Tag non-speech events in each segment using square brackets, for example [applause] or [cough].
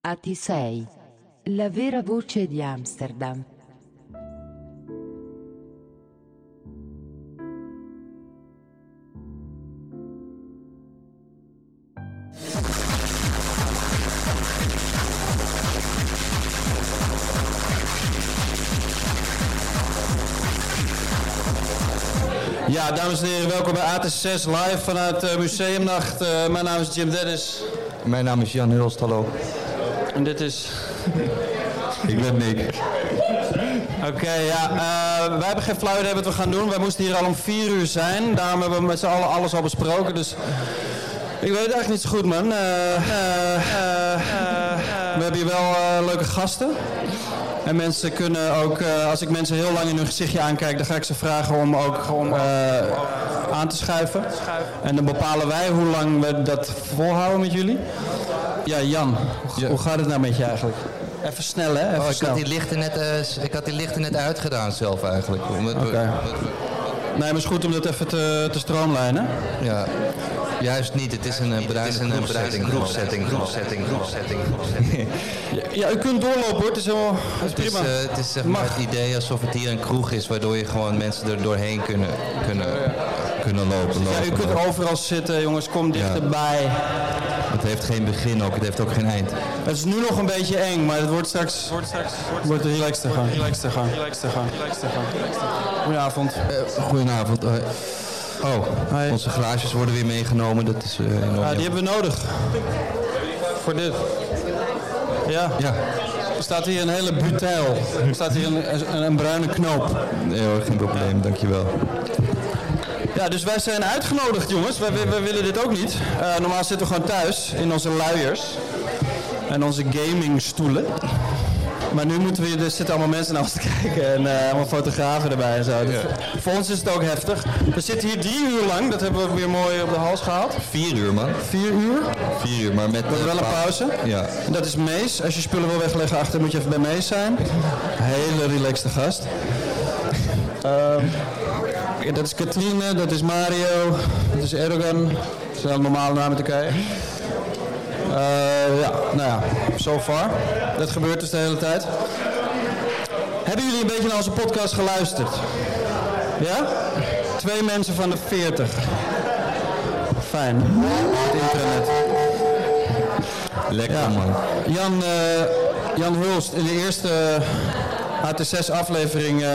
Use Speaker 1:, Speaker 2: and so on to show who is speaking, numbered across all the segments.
Speaker 1: Atisei, la vera voce di Amsterdam.
Speaker 2: Ja, dames en heren, welkom bij AT6 live vanuit eh, Museumnacht. Eh, mijn naam is Jim Dennis
Speaker 3: Mijn naam is Jan Hulst, hallo.
Speaker 2: en dit is...
Speaker 3: Ik ben Nick.
Speaker 2: Oké, ja, eh, wij hebben geen flauw idee wat we gaan doen. Wij moesten hier al om vier uur zijn, daarom hebben we met z'n allen alles al besproken, dus... Ik weet het eigenlijk niet zo goed, man. Eh, eh, eh, we hebben hier wel eh, leuke gasten. En mensen kunnen ook, eh, als ik mensen heel lang in hun gezichtje aankijk, dan ga ik ze vragen om ook om, aan te schuiven. En dan bepalen wij hoe lang we dat volhouden met jullie. Ja, Jan, hoe-
Speaker 3: Ja.
Speaker 2: hoe gaat het nou met je eigenlijk? Even snel, hè? Even
Speaker 3: Oh, ik,
Speaker 2: snel.
Speaker 3: had die lichten net, eh, s- ik had die lichten net uitgedaan zelf eigenlijk. Omdat we-
Speaker 2: Oké. Nee, maar het is goed om dat even te, te stroomlijnen.
Speaker 3: ja. Juist niet, het is een eh, bruine groepsetting. Groepsetting, groepsetting, groepsetting.
Speaker 2: Ja, u kunt doorlopen hoor, het is helemaal het is
Speaker 3: Het is,
Speaker 2: prima.
Speaker 3: eh, het is zeg maar het idee alsof het hier een kroeg is, waardoor je gewoon mensen er doorheen kunnen, kunnen, kunnen lopen.
Speaker 2: ja, eh, u
Speaker 3: lopen,
Speaker 2: kunt
Speaker 3: lopen.
Speaker 2: overal zitten, jongens, kom dichterbij.
Speaker 3: Het heeft geen begin ook, het heeft ook geen eind.
Speaker 2: Het is nu nog een beetje eng, maar het wordt straks, wordt straks wordt relaxter gaan. Relaxter gaan. Relaxter gaan. Relaxter gaan. Goedenavond.
Speaker 3: Eh, Goedenavond. eh. oh,
Speaker 2: Hi.
Speaker 3: onze glaasjes worden weer meegenomen. Dat is eh, enorm.
Speaker 2: Ja, Ah, die
Speaker 3: jammer.
Speaker 2: hebben we nodig. Voor dit. Ja.
Speaker 3: Ja.
Speaker 2: Er staat hier een hele butel. Er staat hier een, een, een bruine knoop.
Speaker 3: Nee hoor, geen probleem, dankjewel.
Speaker 2: Ja, dus wij zijn uitgenodigd, jongens. Wij, wij- wij willen dit ook niet. Eh, normaal zitten we gewoon thuis in onze luiers en onze gamingstoelen. Maar nu moeten we hier, dus zitten allemaal mensen naar ons te kijken en eh, allemaal fotografen erbij en zo. Dus Voor ons is het ook heftig. We zitten hier drie uur lang, dat hebben we weer mooi op de hals gehaald.
Speaker 3: Vier uur man.
Speaker 2: Vier uur,
Speaker 3: Vier uur, maar met... eh,
Speaker 2: dat is wel een pauze.
Speaker 3: Ja.
Speaker 2: En Dat is Mees. Als je spullen wil wegleggen achter, moet je even bij Mees zijn. Hele relaxte gast. Ehm, ja, dat is Katrine, dat is Mario, dat is Erdogan. Dat zijn allemaal normale namen in Turkije. Eh, ja, nou ja, so far. Dat gebeurt dus de hele tijd. Hebben jullie een beetje naar onze podcast geluisterd? Ja? Twee mensen van de 40. Fijn. Het internet.
Speaker 3: Lekker
Speaker 2: Ja,
Speaker 3: man.
Speaker 2: Jan, eh, Jan Hulst, in de eerste eh, HT6-aflevering eh,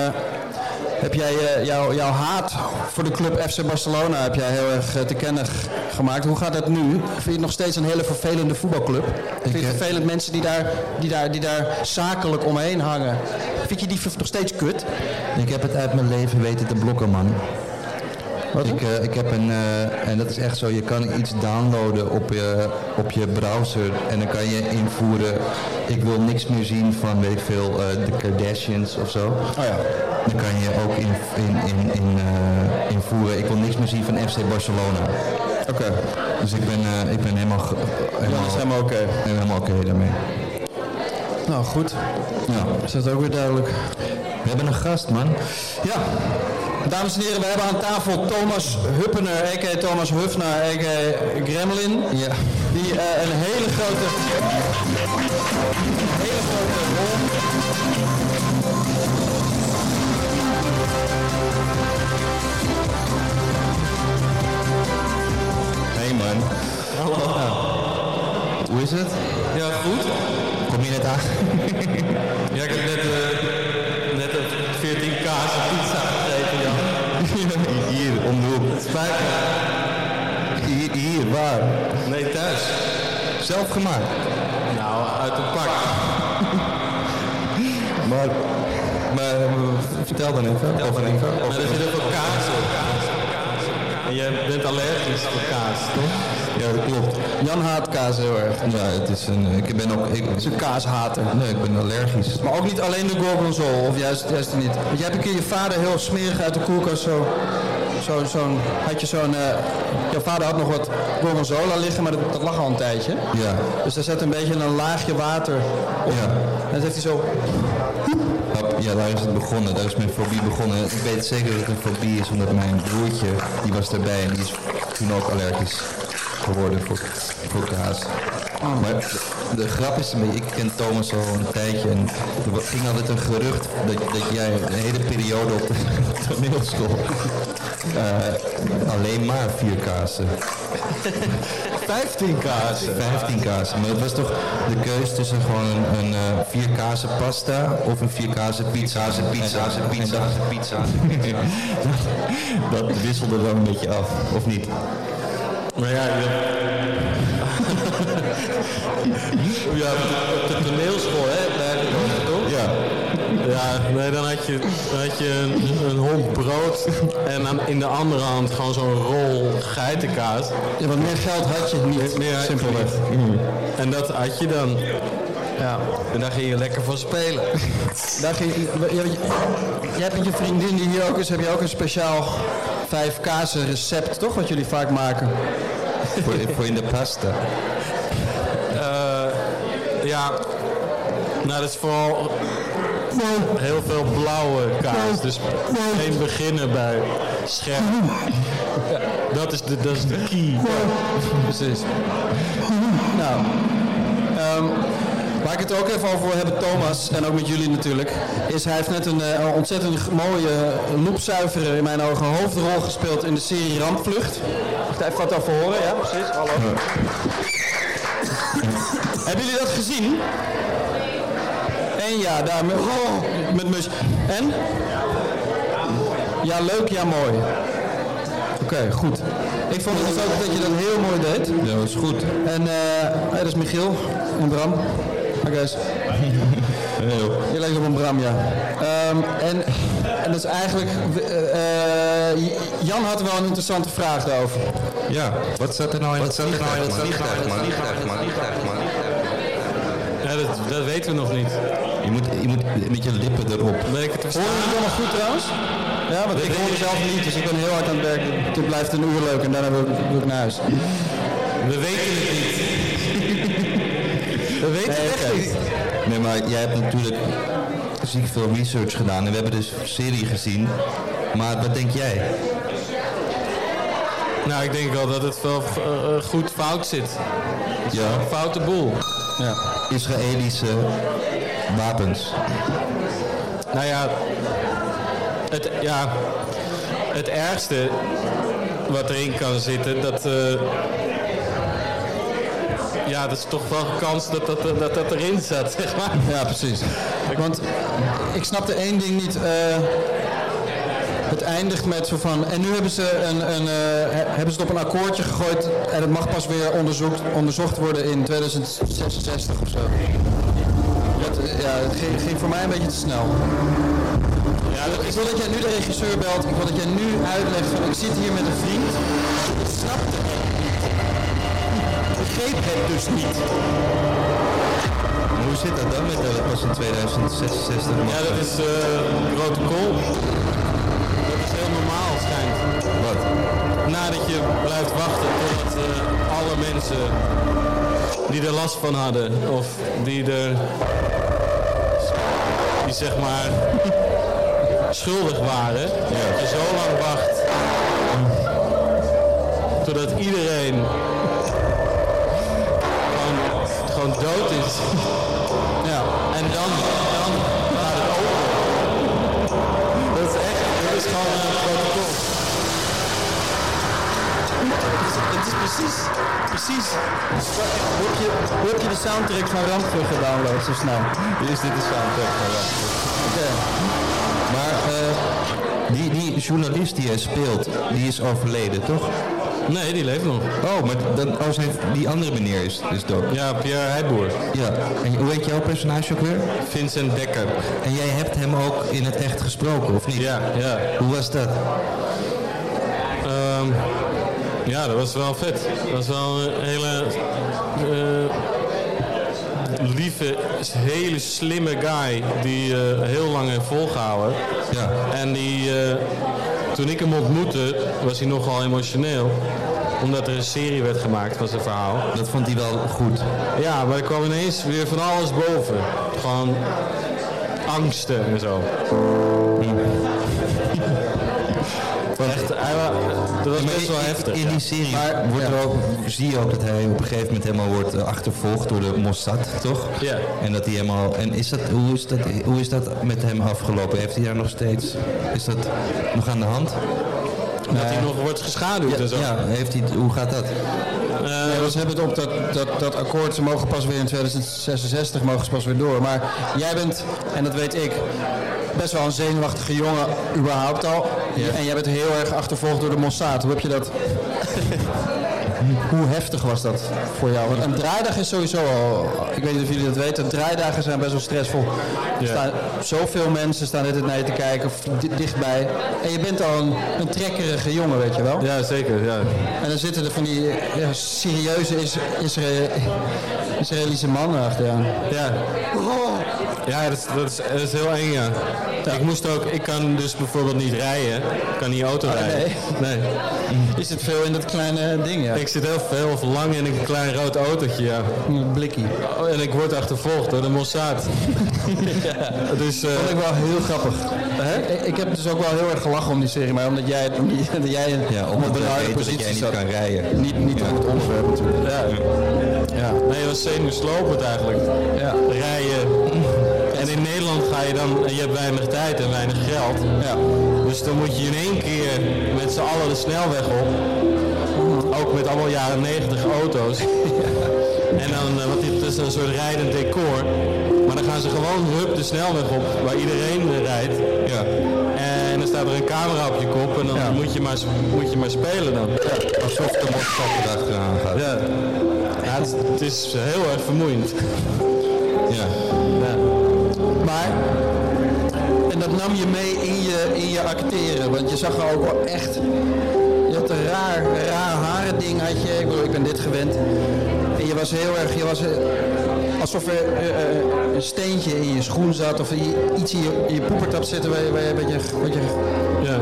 Speaker 2: heb jij eh, jouw- jouw haat voor de club FC Barcelona heb jij heel erg eh, te kennen g- gemaakt. Hoe gaat dat nu? Vind je het nog steeds een hele vervelende voetbalclub? Vind je het
Speaker 3: heb-
Speaker 2: vervelend mensen die daar, die, daar, die daar zakelijk omheen hangen? Vind je die v- nog steeds kut?
Speaker 3: Ik heb het uit mijn leven weten te blokken, man. Ik, eh, ik heb een, eh, en dat is echt zo, je kan iets downloaden op je, op je browser en dan kan je invoeren, ik wil niks meer zien van, weet ik veel, eh, de Kardashians of zo.
Speaker 2: Oh ja.
Speaker 3: Dan kan je ook in, in, in, in, eh, invoeren, ik wil niks meer zien van FC Barcelona.
Speaker 2: Oké.
Speaker 3: Dus ik ben, eh, ik ben helemaal, ge-
Speaker 2: Dat is eh.
Speaker 3: helemaal,
Speaker 2: helemaal oké.
Speaker 3: helemaal oké daarmee.
Speaker 2: Nou, goed.
Speaker 3: Ja.
Speaker 2: Is dat ook weer duidelijk?
Speaker 3: We hebben een gast, man.
Speaker 2: Ja, dames en heren, we hebben aan tafel Thomas Huppener, a.k.a. Thomas Hufner, a.k.a. Gremlin.
Speaker 3: Ja.
Speaker 2: Die eh, een hele grote, hele grote rol...
Speaker 3: Hey man. Hallo. Hoe is het?
Speaker 2: Ja, goed.
Speaker 3: Kom je net aan?
Speaker 2: [laughs] Ja, ik heb net, eh, net een 14 kaas en pizza gegeten, Jan.
Speaker 3: [laughs] Hier, om de hoek.
Speaker 2: Spijt me.
Speaker 3: Hier, hier, waar?
Speaker 2: Nee, thuis.
Speaker 3: Zelf gemaakt.
Speaker 2: Nou, uit een pak.
Speaker 3: [laughs] Maar, maar eh, vertel dan even. Over even.
Speaker 2: Maar er zit heel veel kaas op. En jij bent allergisch voor kaas, toch?
Speaker 3: Ja, dat klopt. Jan haat kaas heel erg. Ja, het is een, eh, ik ben ook... Ik, het is een kaashater. Nee, ik ben allergisch.
Speaker 2: Maar ook niet alleen de gorgonzola, of juist, juist niet.
Speaker 3: Want jij hebt een keer je vader heel smerig uit de koelkast zo...
Speaker 2: Zo, zo'n, had je zo'n, eh, jouw vader had nog wat gorgonzola liggen, maar dat, dat lag al een tijdje.
Speaker 3: Ja.
Speaker 2: Dus daar zat een beetje een laagje water op.
Speaker 3: Ja.
Speaker 2: En dat heeft hij zo,
Speaker 3: Hap, Ja, daar is het begonnen. Daar is mijn fobie begonnen. Ik weet zeker dat het een fobie is, omdat mijn broertje, die was daarbij en die is toen ook allergisch geworden voor, voor kaas. Maar de, de grap is, een beetje- ik ken Thomas al een tijdje en er wa- ging altijd een gerucht dat, dat jij een hele periode op de [laughs] toneelschool eh, alleen maar vier kazen
Speaker 2: 15 kaas.
Speaker 3: 15 kazen. Maar dat was toch de keus tussen gewoon een, een eh, vier kazen pasta of een vier kazen pizza, kazen pizza, kazen pizza, kazen pizza. [laughs] dat wisselde dan een beetje af, of niet?
Speaker 2: Maar ja, je... [laughs] ja, op de- op de toneelschool, hè? Daar heb ik over, toch?
Speaker 3: Ja.
Speaker 4: Ja, nee, dan had je, dan had je een, een hond brood en aan- in de andere hand gewoon zo'n rol geitenkaas.
Speaker 2: Ja, want meer geld had je niet,
Speaker 4: Meer had je
Speaker 2: simpelweg. Mhm.
Speaker 4: En dat had je dan.
Speaker 2: Ja.
Speaker 4: En daar ging je lekker van spelen.
Speaker 2: [laughs] Daar ging, je, je, je hebt met je vriendin die hier ook is, heb je ook een speciaal vijf kazen recept, toch? Wat jullie vaak maken.
Speaker 3: Voor, voor in de pasta.
Speaker 4: Eh, Ja, nou dat is vooral heel veel blauwe kaas. Dus geen beginnen bij scherp. Ja, Dat is de, dat is de key.
Speaker 2: Precies. [laughs] Nou, ehm, waar ik het ook even over wil hebben, Thomas, en ook met jullie natuurlijk, is hij heeft net een eh, ontzettend g- mooie loepzuivere, in mijn ogen, hoofdrol gespeeld in de serie Rampvlucht. Wacht even wat over horen, ja, precies. Hallo. [laughs] Hebben jullie dat gezien? En ja, daar met, oh, met mus. En? Ja, leuk, ja, mooi. Oké, goed. Ik vond het dus ook dat je dat heel mooi deed.
Speaker 3: Ja, dat is goed.
Speaker 2: En eh, hey, dat is Michiel en Bram. Hi guys. Je lijkt op een Bram, ja. Ehm, en, en dat is eigenlijk... eh, eh, Jan had wel een interessante vraag daarover.
Speaker 3: Ja. Wat zat er nou in het vliegtuig, man? Vliegtuig, man. Vliegtuig, man. Vliegtuig, man.
Speaker 4: Ja, dat, dat weten we nog niet.
Speaker 3: Je moet, je moet met je lippen erop.
Speaker 4: Ben ik het te
Speaker 2: Hoor je
Speaker 4: verstaan?
Speaker 2: het allemaal goed trouwens? Ja, want ik hoor mezelf niet, dus ik ben heel hard aan het werk. Dit blijft een uur leuk en daarna wil ik, wil ik naar huis.
Speaker 4: We weten het niet.
Speaker 2: [laughs] We weten
Speaker 3: Nee, oké. Nee, maar jij hebt natuurlijk ziek veel research gedaan en we hebben dus een serie gezien. Maar wat denk jij?
Speaker 4: Nou, ik denk wel dat het wel eh, eh, goed fout zit.
Speaker 3: Ja,
Speaker 4: Foute boel.
Speaker 3: Israëlische wapens.
Speaker 4: Nou ja, het, ja, het ergste wat erin kan zitten, dat. eh, ja, dat is toch wel een kans dat dat, dat dat erin zat, [laughs] zeg maar.
Speaker 2: Ja, precies. Want ik snapte één ding niet. eh, het eindigt met zo van. En nu hebben ze, een, een, eh, he- hebben ze het op een akkoordje gegooid. En het mag pas weer onderzoekt, onderzocht worden in 2066 of zo. Dat, eh, ja, het ging, ging voor mij een beetje te snel. ik wil dat jij nu de regisseur belt. Ik wil dat jij nu uitlegt van ik zit hier met een vriend. Ik snapte het niet. Ik begreep het dus niet.
Speaker 3: Maar hoe zit dat dan met dat het pas in 2066 mag?
Speaker 4: Ja, dat is eh, protocol. Dat is heel normaal, schijnt.
Speaker 3: Wat?
Speaker 4: Nadat je blijft wachten totdat eh, alle mensen die er last van hadden, of die er. die zeg maar. [laughs] schuldig waren. Dat je zo lang wacht. totdat iedereen. gewoon, gewoon dood is.
Speaker 2: Ja.
Speaker 4: En dan, dan gaat het open. Dat is echt, dat is gewoon een protocol. Het is, het is
Speaker 2: precies, precies. Hoe heb, je, hoe heb je de soundtrack van Rampen gedownload zo snel?
Speaker 3: Hier is dit de soundtrack van Rampen.
Speaker 2: Oké.
Speaker 3: Maar eh, die, die journalist die hij speelt, die is overleden, toch?
Speaker 4: Nee, die leeft nog.
Speaker 3: Oh, maar dan, oh, zijn, die andere meneer is, is dood.
Speaker 4: Ja, Pierre Heidboer.
Speaker 3: Ja. En hoe heet jouw personage ook weer?
Speaker 4: Vincent Dekker.
Speaker 3: En jij hebt hem ook in het echt gesproken, of niet?
Speaker 4: Ja, ja.
Speaker 3: Hoe was dat?
Speaker 4: Ehm, ja, dat was wel vet. Dat was wel een hele eh, lieve, hele slimme guy die eh, heel lang heeft volgehouden.
Speaker 3: Ja.
Speaker 4: En die, eh, toen ik hem ontmoette, was hij nogal emotioneel. Omdat er een serie werd gemaakt van zijn verhaal.
Speaker 3: Dat vond hij wel goed.
Speaker 4: Ja, maar er kwam ineens weer van alles boven. Gewoon angsten en zo. Hm. Echt, hij wa- dat was
Speaker 3: Maar
Speaker 4: best wel
Speaker 3: in- in-
Speaker 4: heftig.
Speaker 3: In
Speaker 4: ja.
Speaker 3: die serie wordt er ook, zie je ook dat hij op een gegeven moment helemaal wordt eh, achtervolgd door de Mossad, toch?
Speaker 4: Ja.
Speaker 3: En dat hij helemaal. En is dat, hoe, is dat, hoe is dat met hem afgelopen? Heeft hij daar nog steeds. Is dat nog aan de hand?
Speaker 4: Dat hij nog wordt geschaduwd en zo.
Speaker 3: Ja, heeft hij, hoe gaat dat?
Speaker 4: Eh,
Speaker 2: Ja, ze hebben het op dat, dat, dat akkoord, ze mogen pas weer in 2066 mogen ze pas weer door. Maar jij bent, en dat weet ik, best wel een zenuwachtige jongen überhaupt al. En jij bent heel erg achtervolgd door de Mossad. Hoe heb je dat... Hoe heftig was dat voor jou? Want een draaidag is sowieso al, ik weet niet of jullie dat weten, draaidagen zijn best wel stressvol. Er
Speaker 4: Ja.
Speaker 2: staan zoveel mensen staan net naar je te kijken, of di- dichtbij. En je bent al een, een trekkerige jongen, weet je wel?
Speaker 4: ja, zeker. Ja.
Speaker 2: En dan zitten er van die ja, serieuze Is- Isra- Israëlische mannen achteraan.
Speaker 4: Ja, ja dat, is, dat, is, dat is heel eng, ja. Ik moest ook, ik kan dus bijvoorbeeld niet rijden. Ik kan niet auto rijden. Oh, Nee.
Speaker 2: Is het veel in dat kleine ding, ja?
Speaker 4: Ik zit heel veel of lang in een klein rood autootje, ja.
Speaker 2: Een blikkie.
Speaker 4: Oh, en ik word achtervolgd door de Mossad. [laughs] ja. Dus, eh,
Speaker 2: Dat vind ik wel heel grappig. Ik, ik heb dus ook wel heel erg gelachen om die serie, maar omdat jij, om die, dat jij in
Speaker 3: Ja,
Speaker 2: op een
Speaker 3: omdat hij
Speaker 2: benarde
Speaker 3: weet dat jij
Speaker 2: positie
Speaker 3: niet
Speaker 2: zat.
Speaker 3: kan rijden.
Speaker 2: Niet, niet een goed onderwerp natuurlijk.
Speaker 4: ja. ja. Nee, het was zenuwslopend eigenlijk.
Speaker 2: Ja.
Speaker 4: Rijden. En in Nederland ga je dan, en je hebt weinig tijd en weinig geld.
Speaker 2: Ja.
Speaker 4: Dus dan moet je in één keer met z'n allen de snelweg op.
Speaker 3: Mhm.
Speaker 4: Ook met allemaal jaren 90
Speaker 3: [laughs]
Speaker 4: auto's. En dan, eh, want dit is een soort rijdend decor. Maar dan gaan ze gewoon hup de snelweg op, waar iedereen eh, rijdt.
Speaker 3: Ja.
Speaker 4: En dan staat er een camera op je kop en dan
Speaker 2: Ja.
Speaker 4: moet, je maar, moet je maar spelen dan.
Speaker 3: Alsof de Mossad erachteraan gaat.
Speaker 4: Ja. Ja, het, is- het is heel erg vermoeiend.
Speaker 3: Ja.
Speaker 2: Maar, en dat nam je mee in je, in je acteren, want je zag er ook wel echt... Je had een raar, raar harending had je, ik bedoel, ik ben dit gewend. En je was heel erg, je was eh, alsof er eh, eh, een steentje in je schoen zat of i- iets in je, in je poepertap zitten waar je, waar je een beetje, een beetje
Speaker 4: Ja.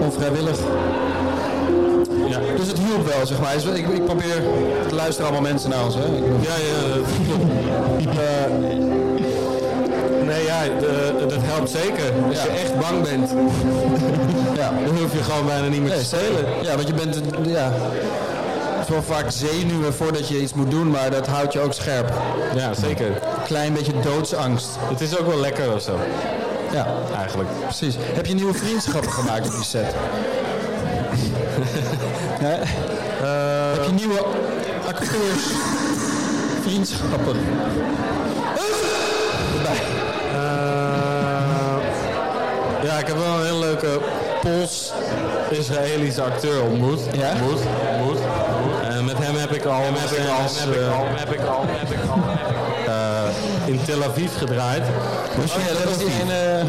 Speaker 2: onvrijwillig...
Speaker 4: Ja.
Speaker 2: Dus het hielp wel, zeg maar. Dus Ik, ik probeer, het luisteren allemaal mensen naar ons, hè. Ik bedoel,
Speaker 4: Ja, ja, dat klopt. Eh, nee, ja, de- dat helpt zeker. Als je echt bang bent,
Speaker 2: ja.
Speaker 4: dan hoef je gewoon bijna niet meer
Speaker 2: Nee,
Speaker 4: te
Speaker 2: stelen.
Speaker 4: spelen.
Speaker 2: Ja, want je bent, eh, ja... Het is wel vaak zenuwen voordat je iets moet doen, maar dat houdt je ook scherp.
Speaker 4: Ja, zeker.
Speaker 2: Klein beetje doodsangst.
Speaker 4: Het is ook wel lekker of zo,
Speaker 2: Ja,
Speaker 4: eigenlijk.
Speaker 2: precies. Heb je nieuwe vriendschappen gemaakt op die
Speaker 4: [laughs]
Speaker 2: set? Hè?
Speaker 4: Eh.
Speaker 2: Heb je nieuwe acteurs vriendschappen?
Speaker 4: ja, ik heb wel een hele leuke Pools-Israëlische acteur ontmoet.
Speaker 2: Ja?
Speaker 4: Ontmoet. Ontmoet. En met hem heb ik al... Hem heb ik al, heb ik al, heb ik al, heb ik al. eh, in Tel Aviv gedraaid.
Speaker 2: Oh ja, dat was die ene...
Speaker 4: eh,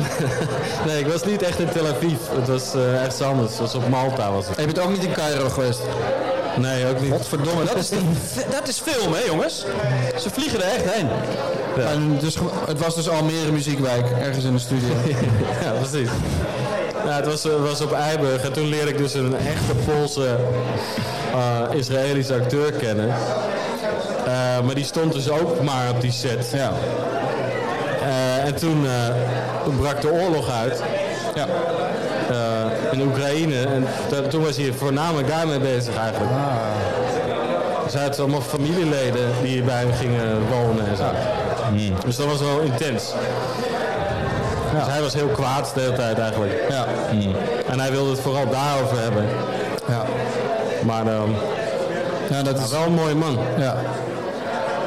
Speaker 4: Nee, ik was niet echt in Tel Aviv. Het was eh echt anders. Het was op Malta was het.
Speaker 2: Je bent ook niet in Cairo geweest.
Speaker 4: Nee, ook niet.
Speaker 2: Godverdomme, dat
Speaker 4: [laughs]
Speaker 2: is, dat is film, hè jongens? Ze vliegen er echt heen. En dus, ge- het was dus Almere Muziekwijk, ergens in de studio.
Speaker 4: [laughs] Ja, precies. Ja, het was, eh, was op Eiburg en toen leerde ik dus een echte Poolse eh, Israëlische acteur kennen. Eh, maar die stond dus ook maar op die set.
Speaker 2: Ja.
Speaker 4: Eh, en toen, eh, toen brak de oorlog uit
Speaker 2: Ja.
Speaker 4: eh, in Oekraïne. En da- toen was hij voornamelijk daarmee bezig eigenlijk.
Speaker 2: Ah.
Speaker 4: Dus hij had allemaal familieleden die bij hem gingen wonen en zo.
Speaker 2: Hmm.
Speaker 4: Dus dat was wel intens. Dus hij was heel kwaad de hele tijd eigenlijk.
Speaker 2: Ja.
Speaker 4: En hij wilde het vooral daarover hebben.
Speaker 2: Ja.
Speaker 4: Maar ehm,
Speaker 2: Ja, dat is...
Speaker 4: Wel een mooie man.
Speaker 2: Ja.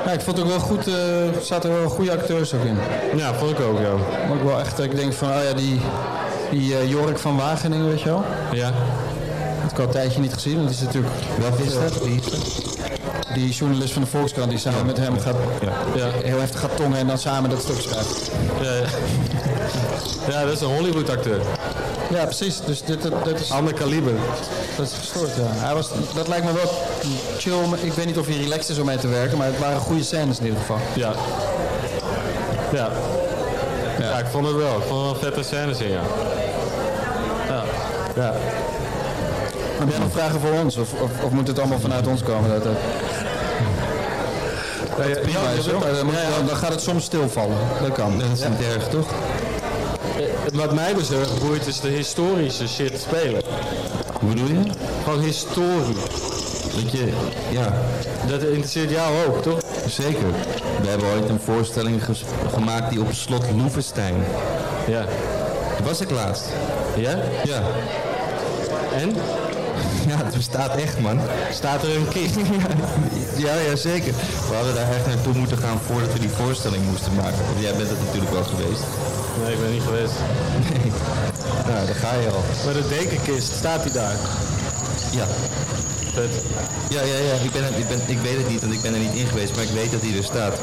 Speaker 2: ja, ik vond het ook wel goed, eh, er zaten wel goede acteurs ook in.
Speaker 4: Ja, vond ik ook, ja.
Speaker 2: Ook wel echt, dat ik denk van, oh ja, die, die eh, Jorik van Wageningen, weet je wel.
Speaker 4: Ja.
Speaker 2: Dat heb ik al een tijdje niet gezien, want die is natuurlijk... Eh,
Speaker 3: Wat is dat?
Speaker 2: Die journalist van de Volkskrant die samen met hem gaat,
Speaker 4: Ja.
Speaker 2: heel heftig gaat tongen en dan samen dat stuk schrijft.
Speaker 4: Ja, [laughs] ja. ja, dat is een Hollywood-acteur.
Speaker 2: Ja, precies. Dus dit, dit, dit is,
Speaker 3: Ah.
Speaker 4: Ander kaliber.
Speaker 2: dat is gestoord, ja. Hij was, dat lijkt me wel chill. maar Ik weet niet of hij relaxed is om mee te werken, maar het waren goede scènes in ieder geval.
Speaker 4: Ja. Ja. Ja. ik vond het wel. Ik vond er wel vette scènes in, ja. Ja. ja.
Speaker 2: Heb jij nog vragen voor ons? Of, of, of moet het allemaal vanuit ons komen? Dat, dat,
Speaker 4: Ja, ja,
Speaker 2: Ja,
Speaker 4: ja,
Speaker 2: dat is ook- dan, moet- dan- dan gaat het soms stilvallen. Dat kan. Dat is niet erg, toch?
Speaker 4: Wat mij dus heel erg boeit is de historische shit spelen.
Speaker 3: Hoe bedoel je?
Speaker 4: Gewoon historie.
Speaker 3: Dat je, ja,
Speaker 4: Dat interesseert jou ook, toch?
Speaker 3: zeker. We hebben ooit een voorstelling ges- gemaakt die op slot Loevestein.
Speaker 4: Ja.
Speaker 3: Daar was ik laatst.
Speaker 4: Ja?
Speaker 3: Ja.
Speaker 4: En?
Speaker 3: Ja, het bestaat echt, man. Nou,
Speaker 4: Staat er een
Speaker 2: [laughs]
Speaker 4: kist?
Speaker 3: Ja, ja, zeker. We hadden daar echt naartoe moeten gaan voordat we die voorstelling moesten maken. Want jij bent het natuurlijk wel geweest.
Speaker 4: Nee, ik ben niet geweest.
Speaker 3: Nou, daar ga je al.
Speaker 4: Maar de dekenkist, staat die daar?
Speaker 3: Ja.
Speaker 4: Vet.
Speaker 3: Ja, ja, ja. Ik, ben, er- ik, ben, ik weet het niet, want ik ben er niet in geweest. Maar ik weet dat hij er staat.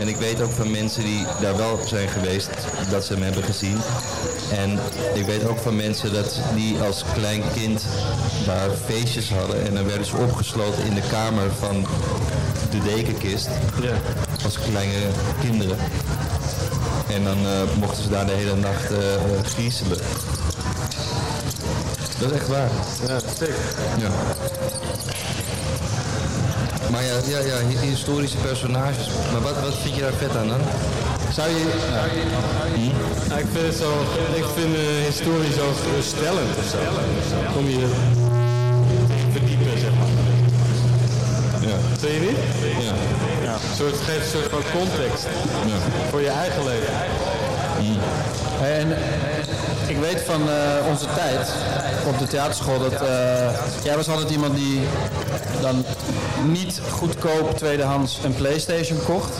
Speaker 3: En ik weet ook van mensen die daar wel zijn geweest, dat ze hem hebben gezien. En ik weet ook van mensen dat die als klein kind daar feestjes hadden. En dan werden ze opgesloten in de kamer van de dekenkist.
Speaker 4: Ja.
Speaker 3: Als kleine kinderen. En dan eh, mochten ze daar de hele nacht eh, eh, griezelen. Dat is echt waar.
Speaker 4: Ja, sick.
Speaker 3: Ja. Maar ja, ja, ja hi- historische personages. Maar wat, wat vind je daar vet aan dan? Nou,
Speaker 4: Zou je... Ja, ik vind het zo... Ik vind eh historie zo geruststellend of zo. Kom je te verdiepen, zeg maar.
Speaker 3: Ja.
Speaker 4: Vind je niet?
Speaker 3: Ja.
Speaker 4: Ja. Een soort, geeft een soort van context
Speaker 3: ja.
Speaker 4: voor je eigen leven.
Speaker 2: Hey, En ik weet van eh, onze tijd op de theaterschool dat eh, jij was altijd iemand die dan niet goedkoop tweedehands een PlayStation kocht,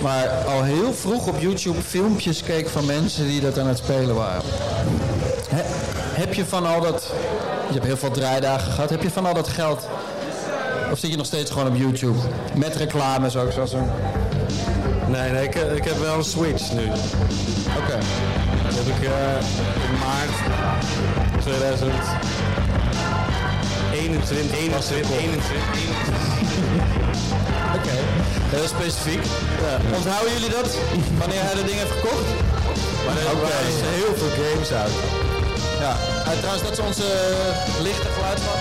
Speaker 2: maar al heel vroeg op YouTube filmpjes keek van mensen die dat aan het spelen waren. He- heb je van al dat, je hebt heel veel draaidagen gehad, heb je van al dat geld, of zit je nog steeds gewoon op YouTube met reclames ook zoals een.
Speaker 4: Nee, nee, ik, ik heb wel een Switch nu.
Speaker 2: Oké.
Speaker 4: Dat heb ik eh, in maart 2021 was dit op.
Speaker 2: Oké, heel specifiek. Onthouden jullie dat? Wanneer hij dat ding heeft gekocht?
Speaker 4: Maar er waren dus heel veel games uit.
Speaker 2: Ja. Eh, trouwens, dat is onze eh, lichte geluidsman.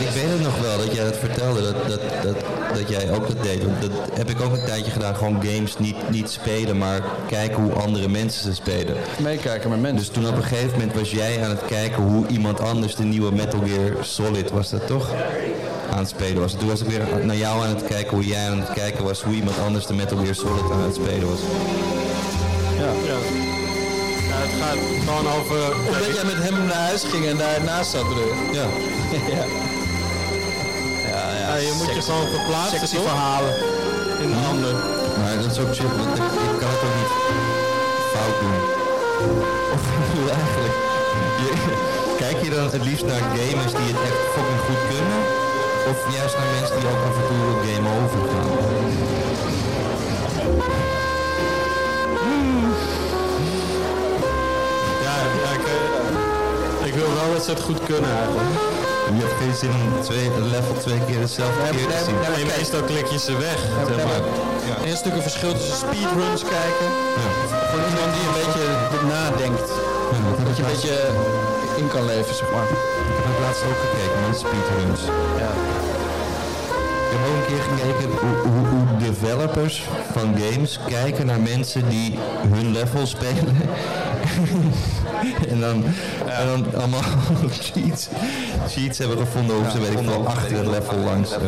Speaker 3: Ik weet het nog wel dat jij dat vertelde, dat, dat, dat, dat jij ook dat deed. Want Dat heb ik ook een tijdje gedaan, gewoon games niet, niet spelen, maar kijken hoe andere mensen ze spelen.
Speaker 2: Meekijken met mensen.
Speaker 3: Dus toen op een gegeven moment was jij aan het kijken hoe iemand anders de nieuwe Metal Gear Solid was dat toch? Aan het spelen was. Toen was ik weer naar jou aan het kijken hoe jij aan het kijken was hoe iemand anders de Metal Gear Solid aan het spelen was.
Speaker 4: Ja. Ja, het gaat gewoon over...
Speaker 2: dat jij met hem naar huis ging en daarnaast zat bedoel je?
Speaker 3: Ja.
Speaker 4: Ja, je moet je gewoon verplaatsen,
Speaker 2: Sexy
Speaker 4: toch?
Speaker 2: verhalen.
Speaker 4: In de handen.
Speaker 3: Maar dat is ook chill, want ik, ik kan het ook niet fout doen. Of [laughs] ik bedoel eigenlijk. je- kijk je dan het liefst naar gamers die het echt fucking goed kunnen? Of juist naar mensen die ook af en toe op game over gaan?
Speaker 4: Ja, ja ik, eh, ik wil wel dat ze het goed kunnen eigenlijk.
Speaker 3: Je hebt geen zin om twee, level twee keer hetzelfde keer te zien.
Speaker 4: Nee, meestal klik je ze weg. zeg
Speaker 2: Ja,
Speaker 4: maar.
Speaker 2: maar Er is natuurlijk een verschil tussen speedruns kijken. Voor iemand die een beetje nadenkt. Dat je een beetje eh, in kan leven, zeg maar.
Speaker 3: Ik heb laatst ook gekeken, man, speedruns.
Speaker 2: Ja.
Speaker 3: Ik heb ook een keer gekeken hoe, hoe, hoe developers van games kijken naar mensen die hun level spelen. [laughs] en, dan, en dan allemaal [laughs] cheats, cheats hebben gevonden hoe ze, weet ik wel, achter een level langs. eh,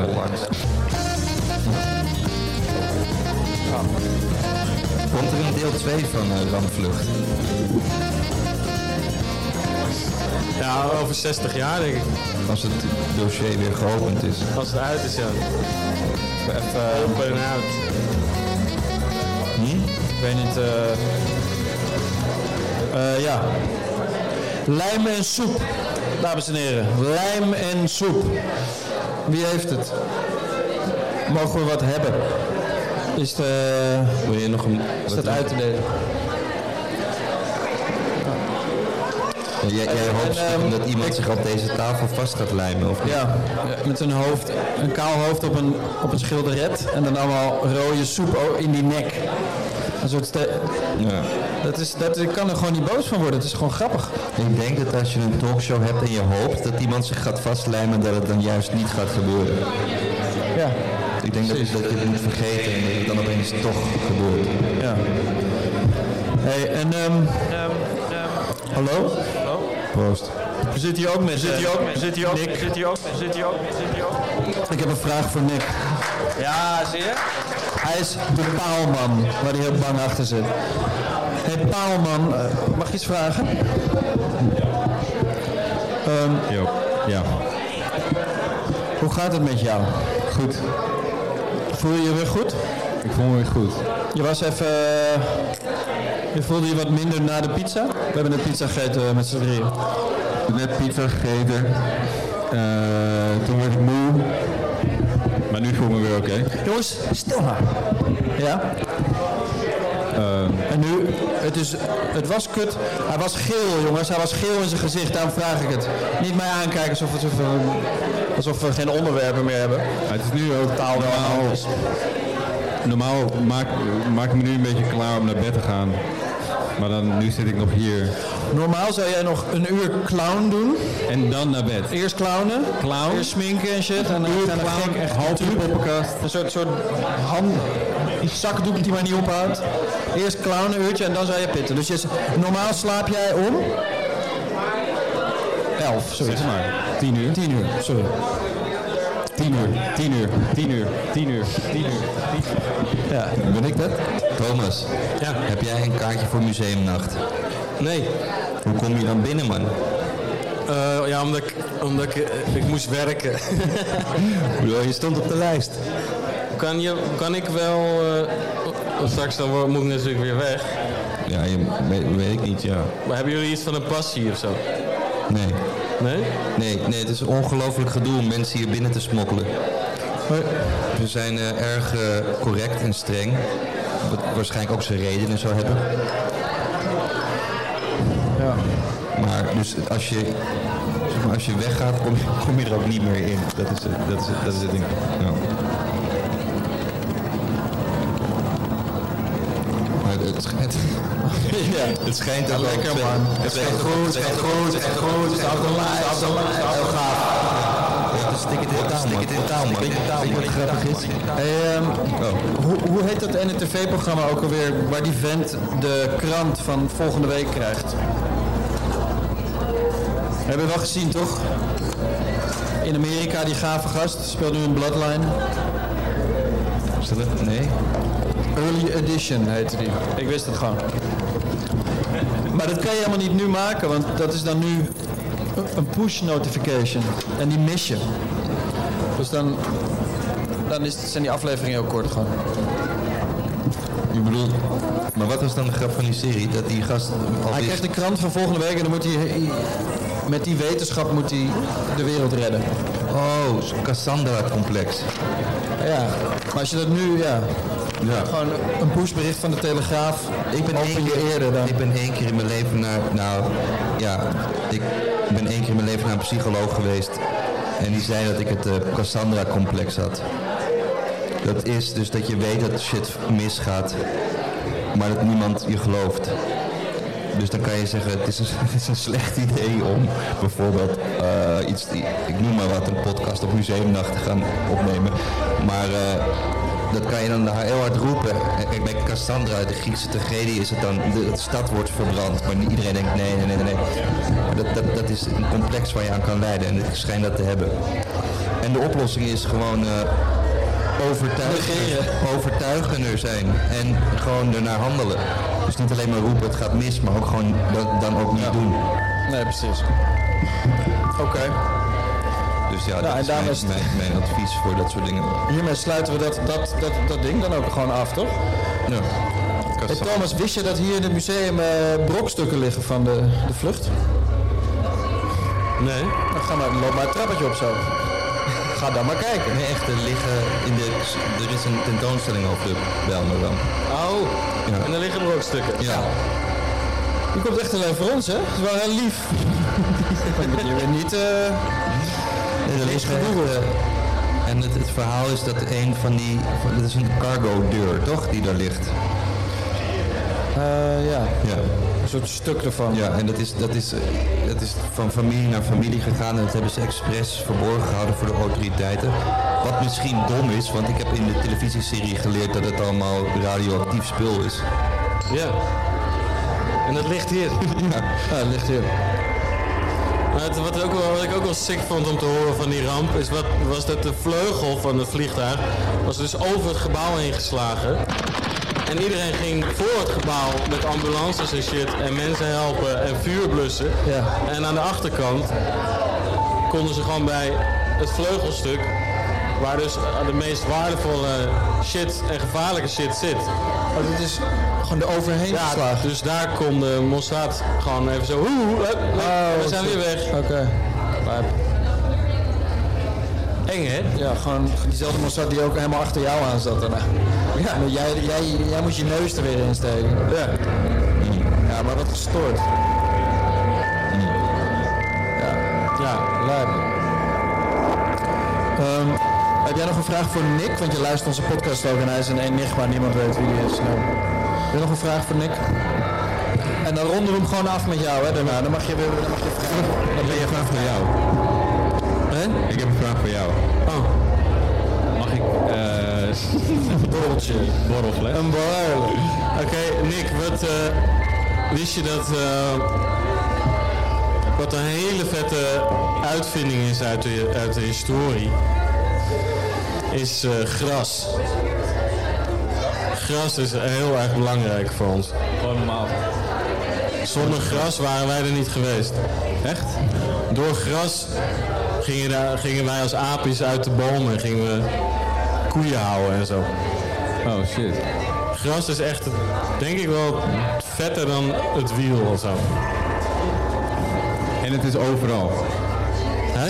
Speaker 3: Komt er een deel 2 van eh, Rampvlucht?
Speaker 4: Ja, over 60 jaar denk ik.
Speaker 3: Als het dossier weer geopend is.
Speaker 4: Als het uit is, ja. eh, Even open en out.
Speaker 2: Ik weet niet. eh. Eh, ja. Lijm en soep, dames en heren. Lijm en soep. Wie heeft het? Mogen we wat hebben? Is, de,
Speaker 3: Wil je nog een...
Speaker 2: is dat uit te delen?
Speaker 3: Ja, jij, jij hoopt
Speaker 2: En, ehm,
Speaker 3: dat iemand zich op deze tafel vast gaat lijmen, of niet?
Speaker 2: Ja, met een hoofd, een kaal hoofd op een, op een schilderet en dan allemaal rode soep o- in die nek. Een soort ste-
Speaker 3: Ja.
Speaker 2: dat is, dat, ik kan er gewoon niet boos van worden, het is gewoon grappig.
Speaker 3: Ik denk dat als je een talkshow hebt en je hoopt dat iemand zich gaat vastlijmen, dat het dan juist niet gaat gebeuren.
Speaker 2: Ja,
Speaker 3: Ik denk dat, dat je het moet vergeten en dat het dan opeens toch gebeurt.
Speaker 2: ja. hey, en ehm, hallo?
Speaker 3: Proost.
Speaker 2: We zitten hier ook met eh, zit hier ook, zit hier ook, Nick. Zit hier ook, zit hier ook, zit hier ook. Ik heb een vraag voor Nick. Ja, zie je? Hij is de paalman, waar hij heel bang achter zit. Hé hey, paalman, eh, mag ik iets vragen?
Speaker 3: Ja.
Speaker 2: Ehm, Hoe gaat het met jou? Goed. Voel je je weer goed?
Speaker 3: Ik voel me goed.
Speaker 2: Je was even... eh, Je voelde je wat minder na de pizza? We hebben een pizza gegeten eh, met z'n drieën.
Speaker 3: Ik heb net pizza gegeten. Eh, toen werd ik moe. Maar nu voel ik me weer oké.
Speaker 2: Jongens, stil maar. Ja?
Speaker 3: Eh.
Speaker 2: En nu, het, is, het was kut. Hij was geel, jongens. Hij was geel in zijn gezicht. Daarom vraag ik het. Niet mij aankijken alsof, het, alsof, we- alsof we geen onderwerpen meer hebben.
Speaker 5: Het is nu ook
Speaker 2: Taal wel anders.
Speaker 5: Normaal maak, maak ik me nu een beetje klaar om naar bed te gaan. Maar dan, nu zit ik nog hier.
Speaker 2: Normaal zou jij nog een uur clown doen.
Speaker 5: En dan naar bed.
Speaker 2: Eerst clownen. Clown. Eerst sminken en shit. En dan en dan gek echt half uur poppenkast. Een soort, soort hand, zakdoek die maar niet ophoudt. Eerst clownen een uurtje en dan zou je pitten. Dus je, is- normaal slaap jij om? Elf, zoiets.
Speaker 5: Zeg maar. Tien uur.
Speaker 2: Tien uur, sorry.
Speaker 5: Tien uur. Tien uur. Tien uur. Tien uur. Tien uur.
Speaker 2: Ja.
Speaker 3: Ben ik dat? Thomas,
Speaker 4: Ja.
Speaker 3: heb jij een kaartje voor museumnacht?
Speaker 4: Nee.
Speaker 3: Hoe kom je dan binnen, man?
Speaker 4: Eh, ja, omdat ik, omdat ik, eh, ik moest werken.
Speaker 3: Bro, je stond op de lijst.
Speaker 4: kan, je, kan ik wel... eh, oh, straks dan wo- moet ik natuurlijk weer weg.
Speaker 3: Ja, je, weet, weet ik niet, ja.
Speaker 4: Maar hebben jullie iets van een passie of zo?
Speaker 3: Nee.
Speaker 4: Nee?
Speaker 3: Nee, nee het is ongelooflijk gedoe om mensen hier binnen te smokkelen. Ze zijn eh, erg eh, correct en streng. Wat waarschijnlijk ook zijn redenen zou hebben. Maar dus als je, zeg maar, als je weggaat, kom je, kom je er ook niet meer in. Dat is, het- dat is, het- dat is het ding. Ja. Maar het, schijnt, [laughs] het schijnt ook lekker man. Het schijnt goed, het schijnt goed, het schijnt goed. Het is altijd live, het is heel gaaf. Stik het in taal, man. Stik het in taal, man. Wat grappig is.
Speaker 2: Hey, ehm, hoe, hoe heet dat ene tv-programma ook alweer waar die vent de krant van volgende week krijgt? Hebben we wel gezien, toch? In Amerika, die gave gast, speelt nu in Bloodline.
Speaker 3: Zullen we- Nee?
Speaker 2: Early Edition heette die. Ik wist het gewoon. Maar dat kan je helemaal niet nu maken, want dat is dan nu een push notification. En die mis je. Dus dan, dan is, zijn die afleveringen heel kort gewoon.
Speaker 3: Je bedoelt... Maar wat was dan de grap van die serie? Dat die gast
Speaker 2: Hij
Speaker 3: al wist-
Speaker 2: krijgt de krant van volgende week en dan moet hij... Met die wetenschap moet hij de wereld redden.
Speaker 3: Oh, zo'n Cassandra-complex.
Speaker 2: Ja, maar als je dat nu... Ja,
Speaker 3: Ja.
Speaker 2: gewoon een pushbericht van de Telegraaf.
Speaker 3: Ik ben, één
Speaker 2: open je
Speaker 3: keer,
Speaker 2: eerder dan.
Speaker 3: ik ben één keer in mijn leven naar... Nou, ja. Ik ben één keer in mijn leven naar een psycholoog geweest. En die zei dat ik het eh, Cassandra-complex had. Dat is dus dat je weet dat shit misgaat. Maar dat niemand je gelooft. Dus dan kan je zeggen, het is een, [laughs] het is een slecht idee om bijvoorbeeld eh, iets, die- ik noem maar wat, een podcast op museumnacht te gaan opnemen. Maar eh, dat kan je dan heel hard roepen. En Kijk, bij Cassandra uit de Griekse tragedie is het dan, de, de stad wordt verbrand. Maar niet iedereen denkt, nee, nee, nee, nee. Maar dat, dat, dat is een complex waar je aan kan leiden en ik schijn dat te hebben. En de oplossing is gewoon... eh, overtuigen, overtuigender zijn en gewoon ernaar handelen. Dus niet alleen maar roepen het gaat mis, maar ook gewoon dat dan ook niet doen.
Speaker 2: Nee, precies. Oké.
Speaker 3: Dus ja, dat
Speaker 2: Nou, en
Speaker 3: is
Speaker 2: daarom
Speaker 3: mijn,
Speaker 2: is het-
Speaker 3: mijn, mijn advies voor dat soort dingen.
Speaker 2: Hiermee sluiten we dat, dat, dat, dat ding dan ook gewoon af, toch?
Speaker 3: Ja.
Speaker 2: Hey,
Speaker 3: Kassa.
Speaker 2: Thomas, wist je dat hier in het museum eh, brokstukken liggen van de, de vlucht?
Speaker 4: Nee.
Speaker 2: Dan ga maar, loop maar het trappetje op zo. Ga dan maar kijken.
Speaker 3: Nee, echt, er liggen in de... Er is een tentoonstelling op de Belmeram.
Speaker 4: Oh,
Speaker 3: Ja.
Speaker 4: en dan liggen er ook stukken.
Speaker 3: Ja.
Speaker 2: Je komt echt alleen voor ons, hè? Dat is wel heel Eh, lief. Dan ben je weer niet... eh,
Speaker 3: Nee, er liggen, eh, en het, het verhaal is dat een van die... van- Dat is een cargo deur, toch? Die daar ligt.
Speaker 2: eh, ja,
Speaker 3: Ja.
Speaker 2: een soort stuk ervan.
Speaker 3: Ja, en dat is, dat, is, eh, dat is van familie naar familie gegaan. En dat hebben ze expres verborgen gehouden voor de autoriteiten. Wat misschien dom is, want ik heb in de televisieserie geleerd dat het allemaal radioactief spul is.
Speaker 4: Ja. En dat ligt hier.
Speaker 2: [laughs] Ja, dat ligt hier.
Speaker 4: Maar het- wat, ook wel, wat ik ook wel sick vond om te horen van die ramp, is wat, was dat de vleugel van het vliegtuig was dus over het gebouw heen geslagen. En iedereen ging voor het gebouw met ambulances en shit en mensen helpen en vuur blussen.
Speaker 2: Ja.
Speaker 4: En aan de achterkant konden ze gewoon bij het vleugelstuk, waar dus de meest waardevolle shit en gevaarlijke shit zit.
Speaker 2: Oh, dit is gewoon er overheen
Speaker 4: Ja,
Speaker 2: geslagen.
Speaker 4: dus daar kon de Mossad gewoon even zo. Hoe, hoe, hup,
Speaker 5: Oh,
Speaker 4: hup, en we zijn
Speaker 2: shit.
Speaker 4: weer weg.
Speaker 2: Oké. Maar-
Speaker 4: Eng hè?
Speaker 2: Ja, gewoon diezelfde Mossad die ook helemaal achter jou aan zat daarna. Ja. Maar jij, jij, jij moet je neus er weer in steken. Ja. Ja, maar wat gestoord.
Speaker 4: Ja.
Speaker 2: Lijp. Ehm, heb jij nog een vraag voor Nick? Want je luistert onze podcast ook en hij is een enigma. Niemand weet wie die is. Nou, Heb je nog een vraag voor Nick? En dan ronden we hem gewoon af met jou, hè? Daarna. Dan mag je weer dan mag je vragen. Dan ben je gewoon voor jou. Hè?
Speaker 5: Ik heb een vraag voor jou. Mag ik... eh borreltje. Borrelfles.
Speaker 2: Een borrel.
Speaker 4: Oké, Nick, wat eh, wist je dat eh, wat een hele vette uitvinding is uit de, uit de historie? Is eh, gras. Gras is heel erg belangrijk voor ons.
Speaker 5: Gewoon normaal.
Speaker 4: Zonder gras waren wij er niet geweest.
Speaker 5: Echt?
Speaker 4: Door gras gingen, daar- gingen wij als aapjes uit de bomen en gingen we koeien houden en zo.
Speaker 5: Oh, shit.
Speaker 4: Gras is echt, denk ik wel, vetter dan het wiel of zo.
Speaker 5: En het is overal.
Speaker 4: Hè?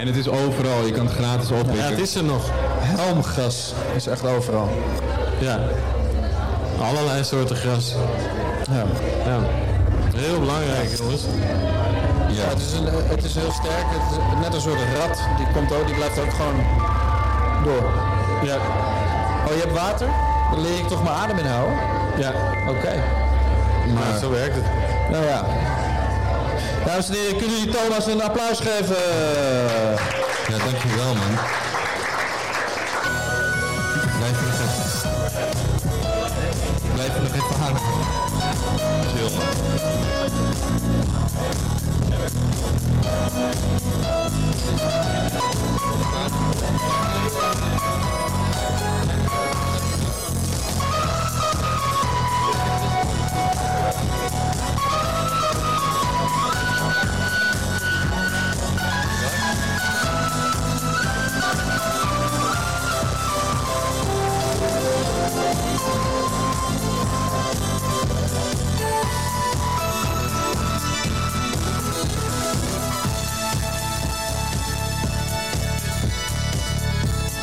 Speaker 5: En het is overal. Je kan het gratis oppikken.
Speaker 4: Ja, het is er nog.
Speaker 2: Helmgras is echt overal.
Speaker 4: Ja. Allerlei soorten gras.
Speaker 2: Ja.
Speaker 4: Ja. Heel belangrijk, jongens.
Speaker 2: Ja, het, is een, het is heel sterk. Het is net een soort rat. Die komt ook, die blijft ook gewoon door.
Speaker 4: Ja.
Speaker 2: Oh, je hebt water? Dan leer ik toch mijn adem inhouden.
Speaker 4: Ja.
Speaker 2: Oké.
Speaker 4: Maar zo werkt het.
Speaker 2: Nou ja. Dames en heren, kunnen jullie Thomas een applaus geven?
Speaker 3: Ja, dankjewel man. Blijf er nog even... Blijf er nog even hangen. Chill man.
Speaker 6: Thank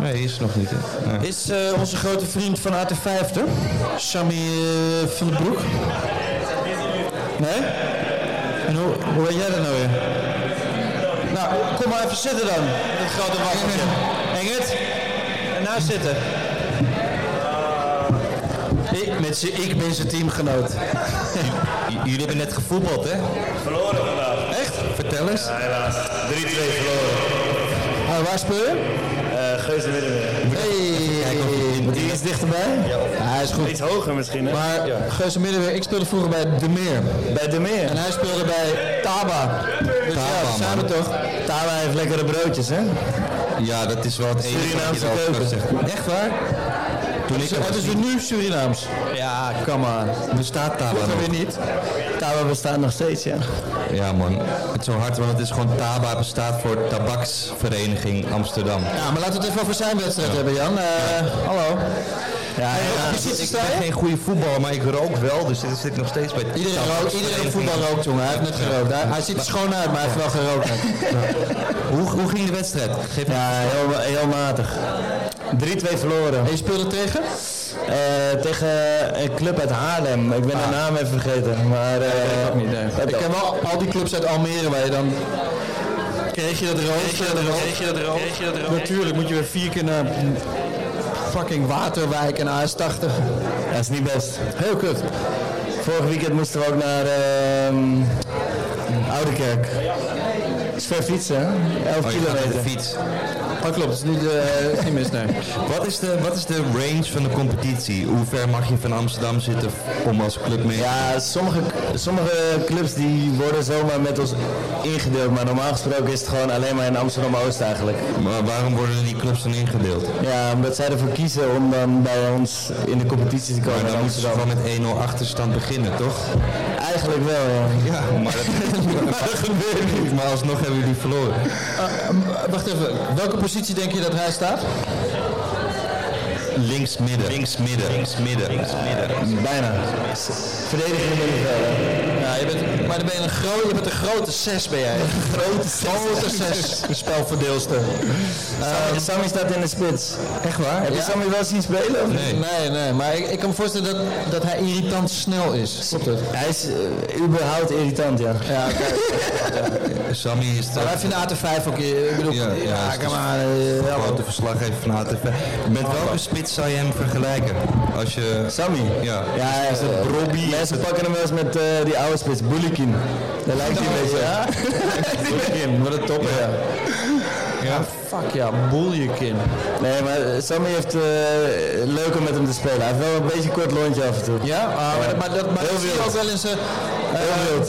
Speaker 3: Nee, is er nog niet. hè. Nee.
Speaker 2: Is eh, onze grote vriend van AT50, Sammy eh, van den Broek? Nee? En hoe, hoe weet jij dat nou weer? Nou, kom maar even zitten dan, dat grote waggeltje. Engert, en nou zitten. Ik, met z'n- ik ben zijn teamgenoot.
Speaker 3: Jullie hebben net gevoetbald, hè?
Speaker 6: Verloren vandaag.
Speaker 2: Echt?
Speaker 3: Vertel eens.
Speaker 6: Helaas. 3-2 verloren.
Speaker 2: Ah, waar speel je?
Speaker 6: Eh Geuze Middenmeer.
Speaker 2: Hey. Die is dichterbij? Ja, hij is goed.
Speaker 6: Iets hoger misschien, hè?
Speaker 2: Maar Geuze Middenweer, ik speelde vroeger bij De Meer.
Speaker 6: bij de meer.
Speaker 2: En hij speelde bij Taba. Dus ja,
Speaker 3: Taba,
Speaker 2: we zijn
Speaker 3: man.
Speaker 2: er toch? Taba heeft lekkere broodjes, hè?
Speaker 3: Ja, dat is wel het enige wat je
Speaker 2: Surinaamse
Speaker 3: erover kan
Speaker 2: keuken.
Speaker 3: zeggen.
Speaker 2: Echt waar?
Speaker 3: Toen ik
Speaker 2: Ze-
Speaker 3: er
Speaker 2: Hebben
Speaker 3: was,
Speaker 2: ze nu Surinaams? Ja, come on.
Speaker 3: bestaat Taba
Speaker 2: Vroeger
Speaker 3: nog.
Speaker 2: weer niet. Taba bestaat nog steeds, ja.
Speaker 3: Ja man, het is zo hard, want het is gewoon Taba bestaat voor Tabaksvereniging Amsterdam. Oh,
Speaker 2: Ja, maar laten we het even over zijn wedstrijd hebben, Jan. Eh, hallo. Ja, ja,
Speaker 3: ik ben geen goede voetballer, maar ik rook wel, dus dit zit ik nog steeds bij
Speaker 2: Iedereen, rookt, iedereen voetbal rookt, jongen. Hij heeft net gerookt. Hij, hij ziet er schoon uit, maar hij heeft wel gerookt.
Speaker 3: Hoe, hoe ging de wedstrijd? Geef
Speaker 2: Ja, heel, heel matig. 3-2 verloren. En je speelde tegen? tegen een club uit Haarlem. Ik ben de naam even vergeten. Maar, Ah. eh, ik ken wel al die clubs uit Almere waar je dan... Kreeg je dat rooster? Kreeg je dat rooster? Natuurlijk moet je weer vier keer naar fucking Waterwijk en AS80. Dat is niet best. Heel kut. Vorig weekend moesten we ook naar ehm, Oudekerk. Het is ver fietsen, hè? 11
Speaker 3: Oh, je gaat met de fiets.
Speaker 2: dat klopt, het is niet, eh, het is niet mis, nee.
Speaker 3: Wat is, de, wat is de range van de competitie? Hoe ver mag je van Amsterdam zitten om als club mee?
Speaker 6: Ja, sommige, sommige clubs die worden zomaar met ons ingedeeld. Maar normaal gesproken is het gewoon alleen maar in Amsterdam-Oost eigenlijk.
Speaker 3: Maar waarom worden die clubs dan ingedeeld?
Speaker 6: Ja, omdat zij ervoor kiezen om dan bij ons in de competitie te komen.
Speaker 3: Maar
Speaker 6: in
Speaker 3: dan moeten ze
Speaker 6: Amsterdam.
Speaker 3: gewoon met 1-0 achterstand beginnen, toch?
Speaker 6: Eigenlijk wel, ja.
Speaker 3: Ja, [laughs] maar dat, gebeurt niet. Maar alsnog hebben jullie verloren.
Speaker 2: Ah, Wacht even, welke positie denk je dat hij staat?
Speaker 3: Links midden. Links midden. Links midden.
Speaker 2: Bijna. Verdediging middenvelder. Ja, je bent, maar dan ben je, een gro- je bent een grote zes, ben jij. grote zes. Grote
Speaker 6: [laughs]
Speaker 2: zes. Ehm, Spelverdeelster.
Speaker 6: Sammy- Sammy staat in de spits.
Speaker 2: Echt waar?
Speaker 6: Heb je Sammy wel zien spelen? of niet?
Speaker 2: Nee. nee, maar ik, ik kan me voorstellen dat, dat hij irritant snel is. Klopt het?
Speaker 6: Hij is eh, überhaupt irritant, ja.
Speaker 2: Ja, oké.
Speaker 3: Sammy is de
Speaker 2: Maar wij vinden AT5 ook... eh, Ik bedoel,
Speaker 3: Ja,
Speaker 2: ja,
Speaker 3: ja, het is-
Speaker 2: kom maar. eh, help
Speaker 3: grote
Speaker 2: op.
Speaker 3: verslaggever van HTV. Met welke spits zou je hem vergelijken? Als je...
Speaker 6: Sammy?
Speaker 3: Ja.
Speaker 6: Ja, is het Robbie? Mensen pakken hem wel eens met eh, die oude spits, Bulikin. Daar lijkt hij een beetje. Ja? Bulikin, wat een topper. Ja.
Speaker 2: Fuck ja, boel je kin.
Speaker 6: Nee, maar Sammy heeft eh leuk om met hem te spelen. Hij heeft wel een beetje kort lontje af en toe.
Speaker 2: Ja, ah, maar, maar dat, maar
Speaker 6: Heel
Speaker 2: dat zie je
Speaker 6: wild.
Speaker 2: ook wel in zijn... eh,
Speaker 6: wild.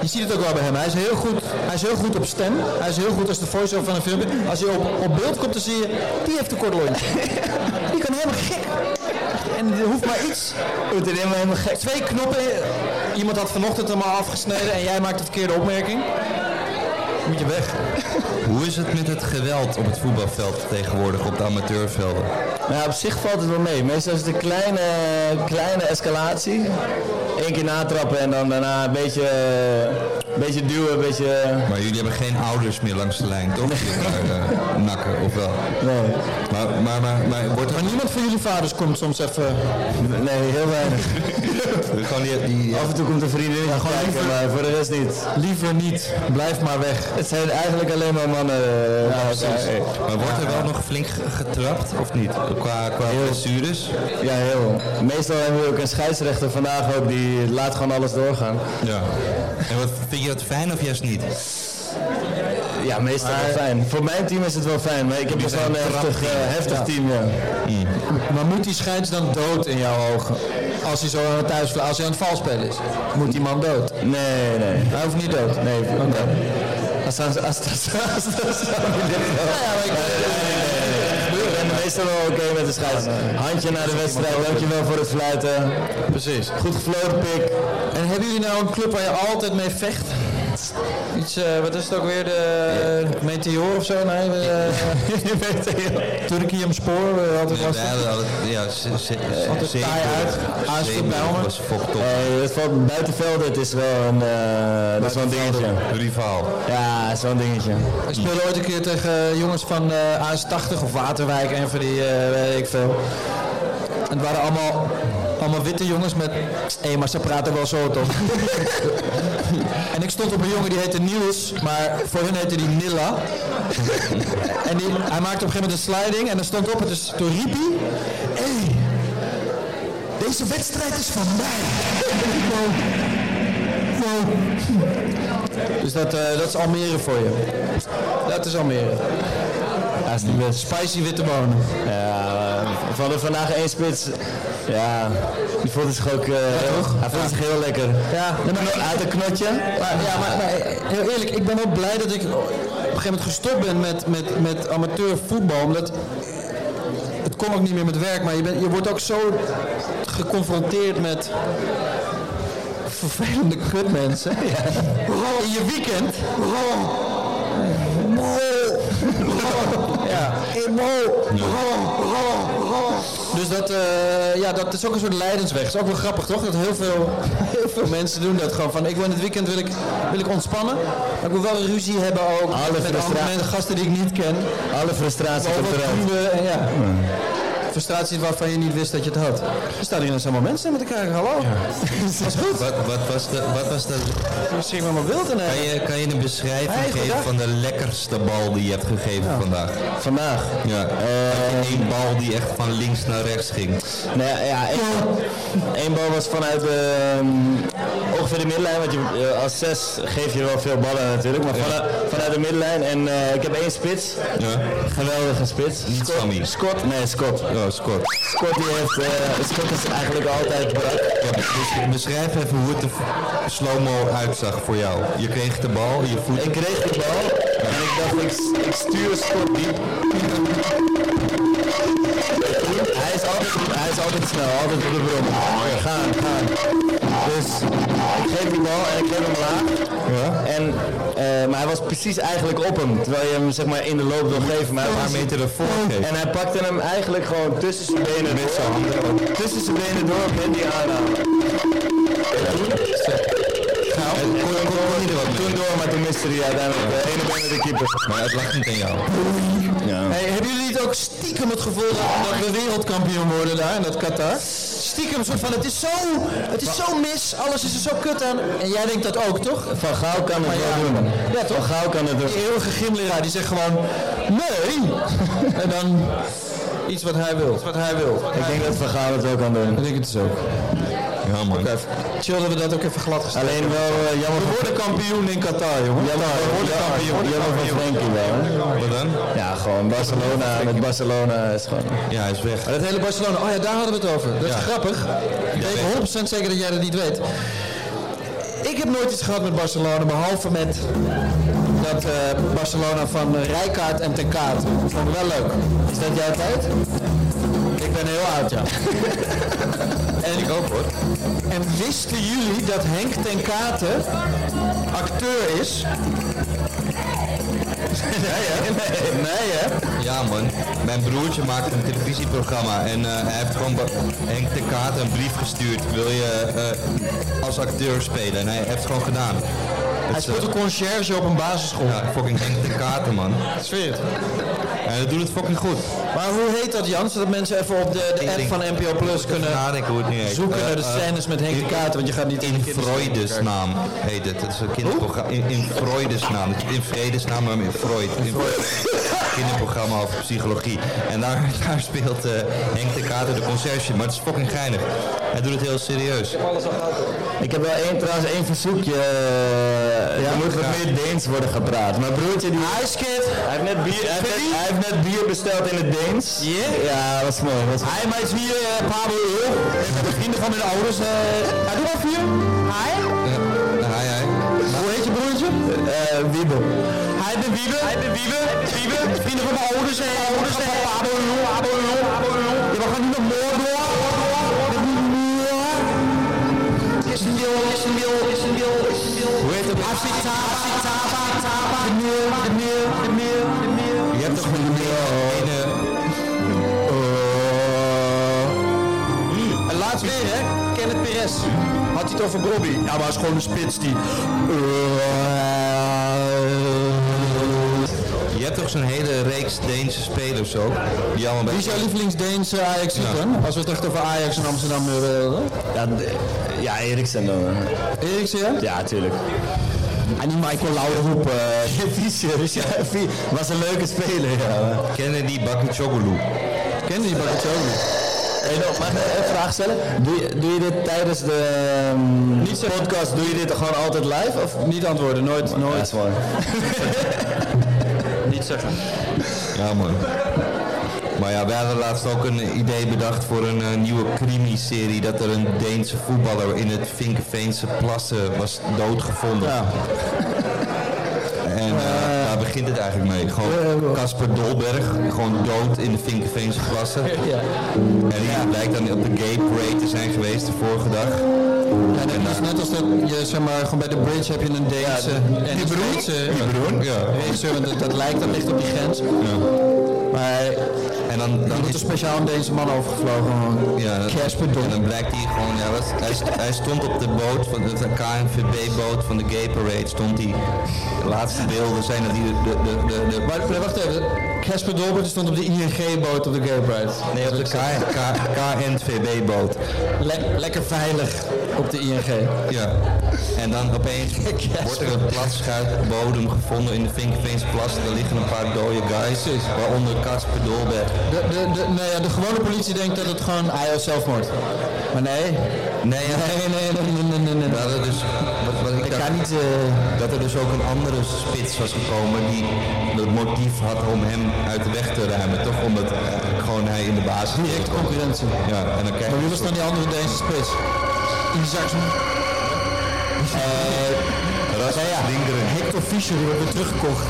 Speaker 2: Je ziet het ook wel bij hem. Hij is heel goed, hij is heel goed op stem. Hij is heel goed als de voice-over van een filmpje. Als hij op, op beeld komt, dan zie je... Die heeft een kort
Speaker 6: [laughs]
Speaker 2: lontje. die kan helemaal gek. En er hoeft maar iets. Het is helemaal gek. Twee knoppen. Iemand had vanochtend hem al afgesneden en jij maakt de verkeerde opmerking. Dan Moet je weg.
Speaker 3: Hoe is het met het geweld op het voetbalveld tegenwoordig, op de amateurvelden?
Speaker 6: Nou, ja, op zich valt het wel mee. Meestal is het een kleine, kleine escalatie. Eén keer natrappen en dan daarna een beetje, eh, beetje duwen, een beetje... eh,
Speaker 3: Maar jullie hebben geen ouders meer langs de lijn, toch? Die elkaar eh, nakken, of wel?
Speaker 6: Nee,
Speaker 3: Maar, maar, maar, maar wordt er
Speaker 2: Maar niemand van jullie vaders komt soms even...
Speaker 6: nee heel [laughs] weinig.
Speaker 3: gewoon die... die
Speaker 6: Af en toe komt een vriendin ja, kijken, maar voor de rest niet.
Speaker 2: Liever niet. Blijf maar weg.
Speaker 6: Het zijn eigenlijk alleen maar mannen. eh, bij elkaar.
Speaker 3: maar wordt er wel nog flink ge- getrapt, of niet? Qua, qua blessures?
Speaker 6: ja, heel. Meestal hebben we ook een scheidsrechter vandaag ook, die laat gewoon alles doorgaan.
Speaker 3: Ja. En wat, vind je dat fijn of juist niet?
Speaker 6: Ja, meestal wel fijn. Voor mijn team is het wel fijn, maar ik heb best wel een heftig, eh, heftig team, ja.
Speaker 2: Maar moet die scheids dan dood in jouw ogen? Als hij zo aan het thuis, als hij aan het valspelen is, moet die man dood.
Speaker 6: Nee, nee.
Speaker 2: Hij hoeft niet dood.
Speaker 6: Nee, oké. Als als als als als [laughs] Ik ben meestal wel oké met de scheids. Handje naar de wedstrijd, dankjewel voor het fluiten.
Speaker 2: Precies.
Speaker 6: Goed gefloten pik.
Speaker 2: En hebben jullie nou een club waar je altijd mee vecht? Iets, eh, wat is het ook weer, de Meteor of zo? Nee, [laughs] Meteor. Turkiyem Spoor, eh, altijd
Speaker 3: Ja,
Speaker 2: was het.
Speaker 3: ja, ze- ze- ze- zeker.
Speaker 2: taai uit. ASV
Speaker 3: Zeker,
Speaker 2: Bijlmer.
Speaker 3: was foktop. eh,
Speaker 6: Nee, het valt buitenveld, het is wel een, eh, dat is wel een dingetje.
Speaker 3: Rivaal.
Speaker 6: Ja, Ja, zo'n dingetje.
Speaker 2: Ik speelde ooit een keer tegen eh, jongens van eh AS80 of Waterwijk en van die, eh, weet ik veel. En het waren allemaal, allemaal witte jongens met... Hé, maar ze praten wel zo toch? [laughs] en ik stond op een jongen die heette Niels, maar voor hun heette die Nilla. [laughs] en die, hij maakte op een gegeven moment een sliding en dan stond ik op en dus, toen riep hij... Hé, deze wedstrijd is van mij. Dus dat, eh, dat is Almere voor je. Dat is Almere.
Speaker 6: Ja, is niet best.
Speaker 2: Spicy witte bonen.
Speaker 6: Ja, eh, we hadden vandaag één spits. Ja, die vond het zich ook eh, heel, hij vond het zich heel lekker.
Speaker 2: Ja, nee, maar-
Speaker 6: Uit een knotje.
Speaker 2: Maar, ja, maar, maar heel eerlijk, ik ben ook blij dat ik op een gegeven moment gestopt ben met, met, met amateur voetbal. Omdat het kon ook niet meer met werk, maar je, bent je wordt ook zo geconfronteerd met vervelende
Speaker 6: [laughs]
Speaker 2: kutmensen. Bro, In je weekend. Bro. Bro. Bro. Ja. Bro. Bro. Bro. Bro. Dus dat, eh, ja, dat is ook een soort leidensweg. Het is ook wel grappig, toch? Dat heel veel, heel veel mensen doen dat gewoon. Van, ik wil in het weekend wil ik, wil ik ontspannen. Maar ik wil wel een ruzie hebben ook. met andere
Speaker 6: frustratie.
Speaker 2: mensen, gasten die ik niet ken.
Speaker 6: Alle frustratie
Speaker 2: Over
Speaker 6: komt eruit.
Speaker 2: vrienden en ja. Frustraties waarvan je niet wist dat je het had. Er staan hier ineens allemaal mensen met elkaar. Hallo. Dat is goed.
Speaker 3: Wat, wat, was de, wat was de...
Speaker 2: Misschien maar mijn beeld in.
Speaker 3: Kan je, kan je een beschrijving
Speaker 2: Eigen
Speaker 3: geven
Speaker 2: dag.
Speaker 3: van de lekkerste bal die je hebt gegeven vandaag?
Speaker 6: Vandaag.
Speaker 3: Ja. Had je één bal die echt van links naar rechts ging?
Speaker 6: Nou ja, ja één, één bal was vanuit de, ehm, ongeveer de middenlijn. Want je, eh, als zes geef je wel veel ballen natuurlijk. Maar vanuit, vanuit de middenlijn. En eh, ik heb één spits.
Speaker 3: Ja.
Speaker 6: Geweldige spits.
Speaker 3: Niet Sammy.
Speaker 6: Scott? Nee, Scott.
Speaker 3: Oh, Scott.
Speaker 6: Scott, die heeft, eh, Scott is eigenlijk altijd brak.
Speaker 3: Ja, bes- beschrijf even hoe het er v- slow-mo uitzag voor jou. Je kreeg de bal, je voet...
Speaker 6: Ik kreeg de bal en ik dacht, ik, ik stuur Scott diep. Hij is altijd, hij is altijd snel, altijd op de bron. Gaan, gaan. Dus ik geef die bal en ik geef hem laag. En, eh, maar hij was precies eigenlijk op hem, terwijl je hem zeg maar in de loop wil geven. Maar hij was-
Speaker 3: meter ervoor geeft.
Speaker 6: en hij pakte hem eigenlijk gewoon tussen zijn benen door. Tussen zijn benen door met die aanname.
Speaker 3: En kon, kon, kon niet wat
Speaker 6: Toen
Speaker 3: mee.
Speaker 6: door, maar toen miste hij uiteindelijk de ene been met de keeper.
Speaker 3: Maar het lag niet aan jou.
Speaker 2: Hey, hebben jullie niet ook stiekem het gevoel dat, dat we wereldkampioen worden daar in dat Qatar? Stiekem een soort van, het is zo, het is zo mis, alles is er zo kut aan. En jij denkt dat ook, toch?
Speaker 6: Van Gaal kan het wel doen.
Speaker 2: Ja,
Speaker 6: Van
Speaker 2: toch?
Speaker 6: Gaal kan het doen.
Speaker 2: Die eeuwige gymleraar die zegt gewoon,
Speaker 6: [laughs]
Speaker 2: nee! En dan iets wat hij wil. Wat hij wil.
Speaker 6: Ik denk dat Van Gaal het wel kan doen.
Speaker 2: Ik denk het dus ook.
Speaker 3: Ja, man.
Speaker 2: Even. Chill dat we dat ook even glad gesteld
Speaker 6: Alleen wel eh, jammer
Speaker 2: We worden kampioen in Qatar, jongen.
Speaker 6: Jammer, jammer, jammer, van Frenkie wel. hè.
Speaker 3: Wat dan?
Speaker 6: Ja, gewoon Barcelona met Barcelona is gewoon...
Speaker 3: Ja, hij is weg.
Speaker 2: Het hele Barcelona, oh ja, daar hadden we het over. Dat is
Speaker 3: Ja.
Speaker 2: grappig. Ik weet 100% zeker dat jij dat niet weet. Ik heb nooit iets gehad met Barcelona, behalve met dat eh, Barcelona van eh, Rijkaard en Ten Kaat. Dat vond ik wel leuk. Is dat jouw tijd? Ik ben heel oud, [laughs] ja. en ik ook hoor. En wisten jullie dat Henk Ten Kate acteur is? nee, hè? [laughs] Nee, hè?
Speaker 3: Ja, man. Mijn broertje maakt een televisieprogramma en eh, hij heeft gewoon ba- Henk de Kaat een brief gestuurd. Wil je eh, als acteur spelen? En hij heeft het gewoon gedaan.
Speaker 2: Hij
Speaker 3: Het is,
Speaker 2: speelt
Speaker 3: eh,
Speaker 2: een conciërge op een basisschool.
Speaker 3: ja, fucking Henk de Kaat, man.
Speaker 2: Sfeer het.
Speaker 3: En dat doet het fucking goed.
Speaker 2: Maar hoe heet dat, Jan? Zodat mensen even op de, de
Speaker 3: Ik
Speaker 2: app
Speaker 3: denk-
Speaker 2: van NPO Plus kunnen
Speaker 3: Nadenken hoe het nu heet.
Speaker 2: zoeken
Speaker 3: Eh,
Speaker 2: naar de
Speaker 3: eh,
Speaker 2: scènes met Henk de Kater, want je gaat niet
Speaker 3: In Freudes naam heet het. Het is een kinderprogramma. In, in Freudes naam. Het is In vredesnaam, maar met Freud. In [laughs] kinderprogramma over psychologie. En daar, [laughs] daar speelt eh, Henk de Kater de conciërge. Maar het is fucking geinig. Hij doet het heel serieus.
Speaker 6: Ik heb wel één, trouwens één verzoekje. eh, er moet wat meer Deens worden gepraat. Mijn broertje die... Huiskid! Hij heeft net bier, hij heeft net, hij heeft net bier besteld in het Deens. Ja, dat is mooi. Dat is Hij maakt hier eh, een paar uur. De vrienden van mijn ouders. hij doet al vier. Hij?
Speaker 3: Ja, hij, hij.
Speaker 6: Hoe heet je broertje? Eh, Wiebe. Hij de Wiebe. Hij de Wiebe. Wiebe. Vrienden van mijn ouders. Hey, ouders. eh. Hey. Abo, abo, abo. Je mag gewoon niet meer moord door. Hoe heet het? Afsita, afsita, afsita. De meer, de meer, de meer, de eh, meer. Je hebt toch een meer.
Speaker 2: Eh. En laatst weer, hè? Kenneth Perez. Had hij het over Bobby? Ja, maar hij is gewoon een spits die... Eh,
Speaker 3: toch zo'n hele reeks Deense spelers ook. Die allemaal bij
Speaker 2: Wie is jouw lievelingsdeense ajax dan? Als we het echt over Ajax en Amsterdam hebben.
Speaker 6: Ja, de- ja Eriksen dan. eh.
Speaker 2: Eriksen, ja?
Speaker 6: Ja, tuurlijk.
Speaker 2: En die Michael eh, Lauder.
Speaker 6: Roep,
Speaker 2: [laughs]
Speaker 6: Fischer ja, Vie- was een leuke speler. Ja.
Speaker 3: Kennedy Bakachoglu.
Speaker 2: Ken die Bakachoglu?
Speaker 6: Hey, no, mag ik een vraag stellen? Doe je, doe je dit tijdens de ehm, podcast, doe je dit gewoon altijd live? Of?
Speaker 2: Niet antwoorden, nooit, nooit.
Speaker 6: [laughs]
Speaker 2: Niet zeggen.
Speaker 3: Ja man. Maar ja, wij hadden laatst ook een idee bedacht voor een eh, nieuwe crimi-serie dat er een Deense voetballer in het Vinkenveense plassen was doodgevonden. En eh, daar begint het eigenlijk mee. Gewoon Casper Dolberg, gewoon dood in de Vinkenveense plassen. En die blijkt dan op de gay parade te zijn geweest de vorige dag.
Speaker 2: Ja, dat is net als dat je zeg maar gewoon bij de bridge heb je een Deense en een Zweedse
Speaker 3: Ja.
Speaker 2: regisseur, want dat, dat lijkt, dat ligt op die grens. Maar
Speaker 3: En dan,
Speaker 2: er
Speaker 3: dan
Speaker 2: wordt
Speaker 3: is
Speaker 2: een speciaal een Deense man overgevlogen. gewoon.
Speaker 3: Ja, dat-
Speaker 2: Casper Dolberg.
Speaker 3: En dan blijkt hij gewoon, ja, wat, hij, st- hij stond op de boot, van de KNVB-boot van de Gay Parade, stond hij. De laatste beelden zijn dat hij de, de, de, de, de-
Speaker 2: Maar maar wacht even, Casper Dolberg stond op de ING-boot op de Gay Pride.
Speaker 3: nee, op de K- K- KNVB-boot.
Speaker 2: Le- lekker veilig op de ING.
Speaker 3: Ja. En dan opeens [laughs] wordt er een platschuitbodem gevonden in de Vinkerveense plas. Daar liggen een paar dode guys, waaronder Casper Dolberg.
Speaker 2: De, de, de, nou ja, de gewone politie denkt dat het gewoon ah, zelfmoord. Maar nee.
Speaker 3: Nee, ja,
Speaker 2: Nee, nee, nee, nee, nee, nee. nee.
Speaker 3: dat er dus, wat, wat ik
Speaker 2: Ik
Speaker 3: dacht-
Speaker 2: ga niet... eh,
Speaker 3: dat er dus ook een andere spits was gekomen die het motief had om hem uit de weg te ruimen. Toch omdat eh, gewoon hij in de basis
Speaker 2: Direct concurrentie.
Speaker 3: Ja, en dan krijg
Speaker 2: Maar
Speaker 3: je
Speaker 2: wie was dan die andere Deense spits? Isaacson.
Speaker 3: Ras Lindgren.
Speaker 2: Hector Fischer, die wordt weer teruggekocht.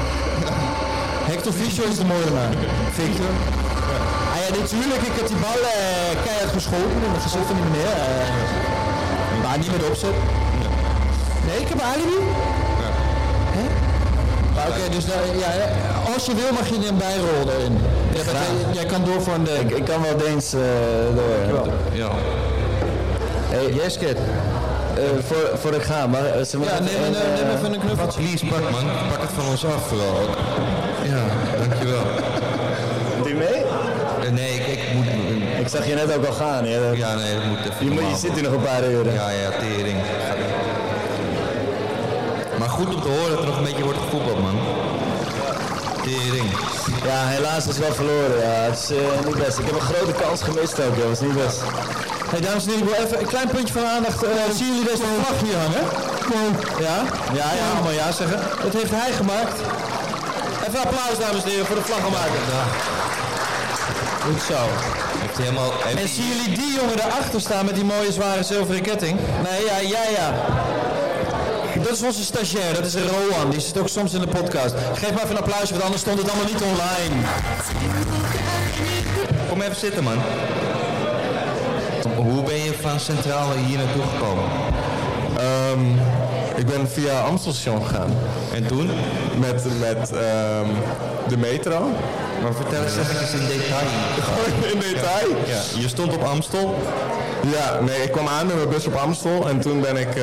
Speaker 2: [laughs] Hector Fischer is de moordenaar. Victor. Ah ja, natuurlijk, ik heb die bal eh, keihard geschoten in het gezicht van die meneer. eh. maar niet met opzet. Nee, ik heb een alibi. Hè? Maar Oké, dus nou, ja, ja, als je wil mag je een bijrol erin. Jij, bent- jij- jij kan door voor een...
Speaker 6: Ik, ik kan wel Deens eh door.
Speaker 3: Ja.
Speaker 6: Hey, Jeskit. Eh, voor, voor ik ga, maar eh, ze mag
Speaker 2: Ja,
Speaker 6: even
Speaker 2: neem,
Speaker 6: een,
Speaker 2: een, eh,
Speaker 6: eh,
Speaker 2: neem even een knuffeltje.
Speaker 3: Please, pak man. Pak het van ons af vooral ook. Ja, dankjewel.
Speaker 6: Doet die mee?
Speaker 3: Eh, Nee, ik, ik moet...
Speaker 6: Ik zag je net ook al gaan. hè.
Speaker 3: Ja, nee, dat moet even
Speaker 6: Je, moet, je
Speaker 3: normaal.
Speaker 6: zit hier nog een paar uren.
Speaker 3: Ja, ja, tering. Maar goed om te horen dat er nog een beetje wordt gevoetbald, man. Tering.
Speaker 6: Ja, helaas is wel verloren. Ja. Het is eh, niet best. Ik heb een grote kans gemist ook, joh. Het is niet best.
Speaker 2: Hey, dames en heren, ik wil even een klein puntje van aandacht. eh zien jullie deze vlag hier hangen? Ja? Ja, ja, allemaal ja zeggen. Dat heeft hij gemaakt. Even applaus, dames en heren, voor de vlaggenmaker. Goed zo.
Speaker 3: Heeft hij helemaal... heeft
Speaker 2: En
Speaker 3: hij-
Speaker 2: zien jullie die jongen daarachter staan met die mooie zware zilveren ketting? Nee, ja, ja, ja. Dat is onze stagiair, dat is Roan. Die zit ook soms in de podcast. Geef maar even een applaus, want anders stond het allemaal niet online.
Speaker 3: Kom even zitten, man. Hoe ben je van Centraal hier naartoe gekomen?
Speaker 7: Ehm, Ik ben via Amstelstation gegaan.
Speaker 3: En toen?
Speaker 7: Met, met ehm, de metro.
Speaker 3: Maar vertel eens even in detail.
Speaker 7: [laughs] In detail.
Speaker 3: Ja, je stond op Amstel.
Speaker 7: Ja, nee, ik kwam aan met mijn bus op Amstel. En toen ben ik, eh,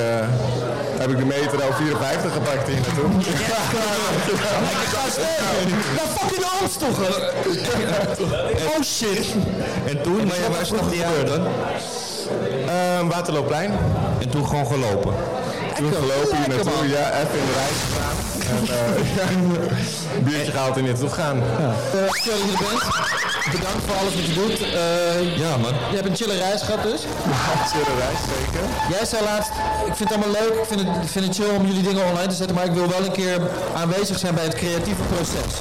Speaker 7: heb ik de metro 54 gepakt hier naartoe. [laughs]
Speaker 2: Nou, fucking Amstel, Oh shit.
Speaker 3: En toen? Maar ja, waar stond je uit dan?
Speaker 7: Ehm, Waterloopplein.
Speaker 3: En toen gewoon gelopen.
Speaker 7: Toen gelopen hier
Speaker 2: Lekker,
Speaker 7: naartoe. Ja, even in de rij gestaan. En, eh,
Speaker 3: [laughs]
Speaker 7: ja, biertje gehaald en hier naartoe gegaan.
Speaker 2: Eh, Chill dat je er bent. Bedankt voor alles wat je doet. Eh,
Speaker 3: Ja, man.
Speaker 2: je hebt een chille reis gehad dus.
Speaker 7: Chille reis, zeker.
Speaker 2: Jij zei laatst, ik vind het allemaal leuk, ik vind het, ik vind het chill om jullie dingen online te zetten, maar ik wil wel een keer aanwezig zijn bij het creatieve proces.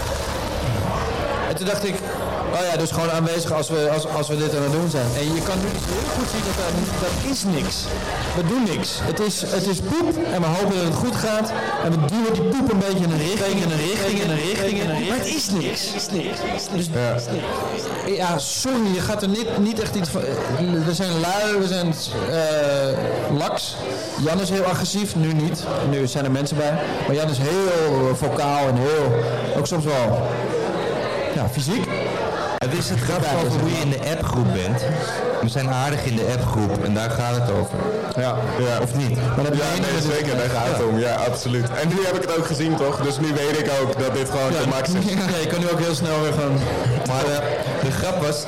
Speaker 2: En toen dacht ik, oh ja, dus gewoon aanwezig als we, als, als we dit aan het doen zijn. En je kan nu dus heel goed zien dat dat, dat is niks. We doen niks. Het is, het is poep en we hopen dat het goed gaat. En we duwen die poep een beetje in een richting, in een richting, in een richting, in een richting. Maar het is niks. Dus, ja, sorry, je gaat er niet, niet echt iets van... eh, We zijn lui, we zijn eh, laks. Jan is heel agressief, nu niet. Nu zijn er mensen bij. Maar Jan is heel eh, vocaal en heel... Ook soms wel... Ja, fysiek.
Speaker 3: Het is het grappige over hoe je in de appgroep bent. We zijn aardig in de appgroep en daar gaat het over.
Speaker 8: Ja, ja.
Speaker 3: Of niet? Maar dat
Speaker 8: Ja, nee,
Speaker 2: dus-
Speaker 8: zeker. Daar gaat het om. Ja, absoluut. En nu heb ik het ook gezien, toch? Dus nu weet ik ook dat dit gewoon de max is.
Speaker 3: Ja, je kan nu ook heel snel weer gaan. Maar eh, de grap was,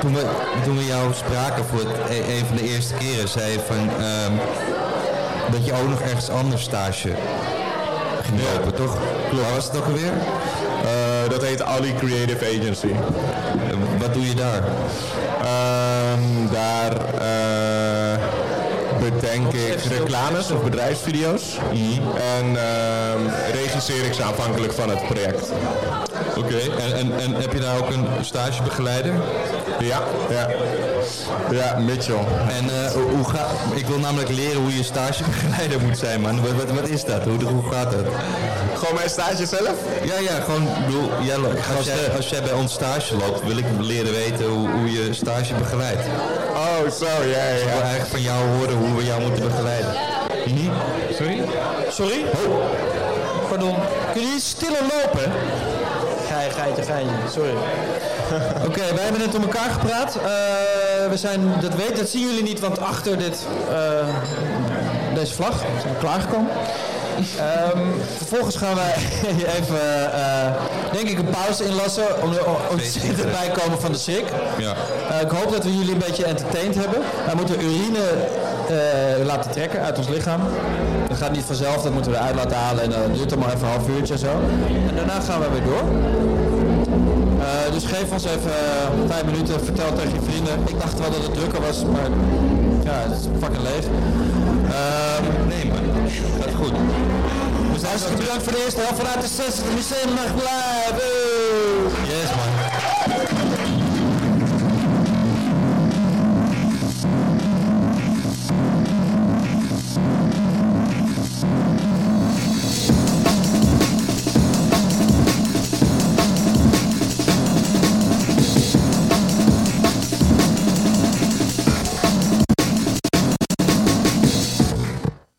Speaker 3: toen we, toen we jou spraken voor het, e- een van de eerste keren, zei je van ehm, dat je ook nog ergens anders stage ging lopen, toch? Waar was het ook alweer?
Speaker 8: Eh, dat heet Ali Creative Agency.
Speaker 3: Eh, Wat doe je daar?
Speaker 8: Ehm, daar eh, bedenk ik reclames of bedrijfsvideo's.
Speaker 9: Mhm.
Speaker 8: En ehm, regisseer ik ze afhankelijk van het project.
Speaker 9: Oké, en, en, en heb je daar ook een stagebegeleider?
Speaker 8: Ja, ja. Ja, Mitchell.
Speaker 3: En eh, hoe- hoe ga, ik wil namelijk leren hoe je stagebegeleider moet zijn, man. Wat, wat, wat is dat? Hoe, hoe gaat dat?
Speaker 8: Gewoon mijn stage zelf?
Speaker 3: Ja, ja, gewoon, ik bedoel, jij lo- als, jij, als jij bij ons stage loopt, wil ik leren weten hoe, hoe je stage begeleidt.
Speaker 8: Oh, zo, ja, ja, ja.
Speaker 3: Ik wil eigenlijk van jou horen hoe we jou moeten begeleiden.
Speaker 9: Sorry? Oh.
Speaker 2: Sorry? Pardon. Kun je iets stiller lopen? Gein, geintje, geintje. Sorry. [laughs] Oké, wij hebben net om elkaar gepraat. Eh, we zijn, dat, weet, dat zien jullie niet, want achter dit, eh, deze vlag zijn we klaargekomen. Ehm, vervolgens gaan wij [laughs] even, eh, denk ik, een pauze inlassen om, om te bijkomen van de schrik.
Speaker 9: Ja.
Speaker 2: Eh, ik hoop dat we jullie een beetje entertained hebben. Wij moeten urine eh, laten trekken uit ons lichaam. Dat gaat niet vanzelf, dat moeten we eruit laten halen en dat duurt allemaal even een half uurtje zo. En daarna gaan we weer door. Eh, dus geef ons even eh, vijf minuten, vertel tegen je vrienden. Ik dacht wel dat het drukker was, maar ja, het is fucking leeg. Ehm, nee man, gaat goed. Dus hartstikke bedankt voor de eerste helft vanuit de 60 museum eh, mag blijven. Yes man.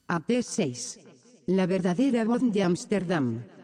Speaker 1: AP6. La verdadera voz de Ámsterdam.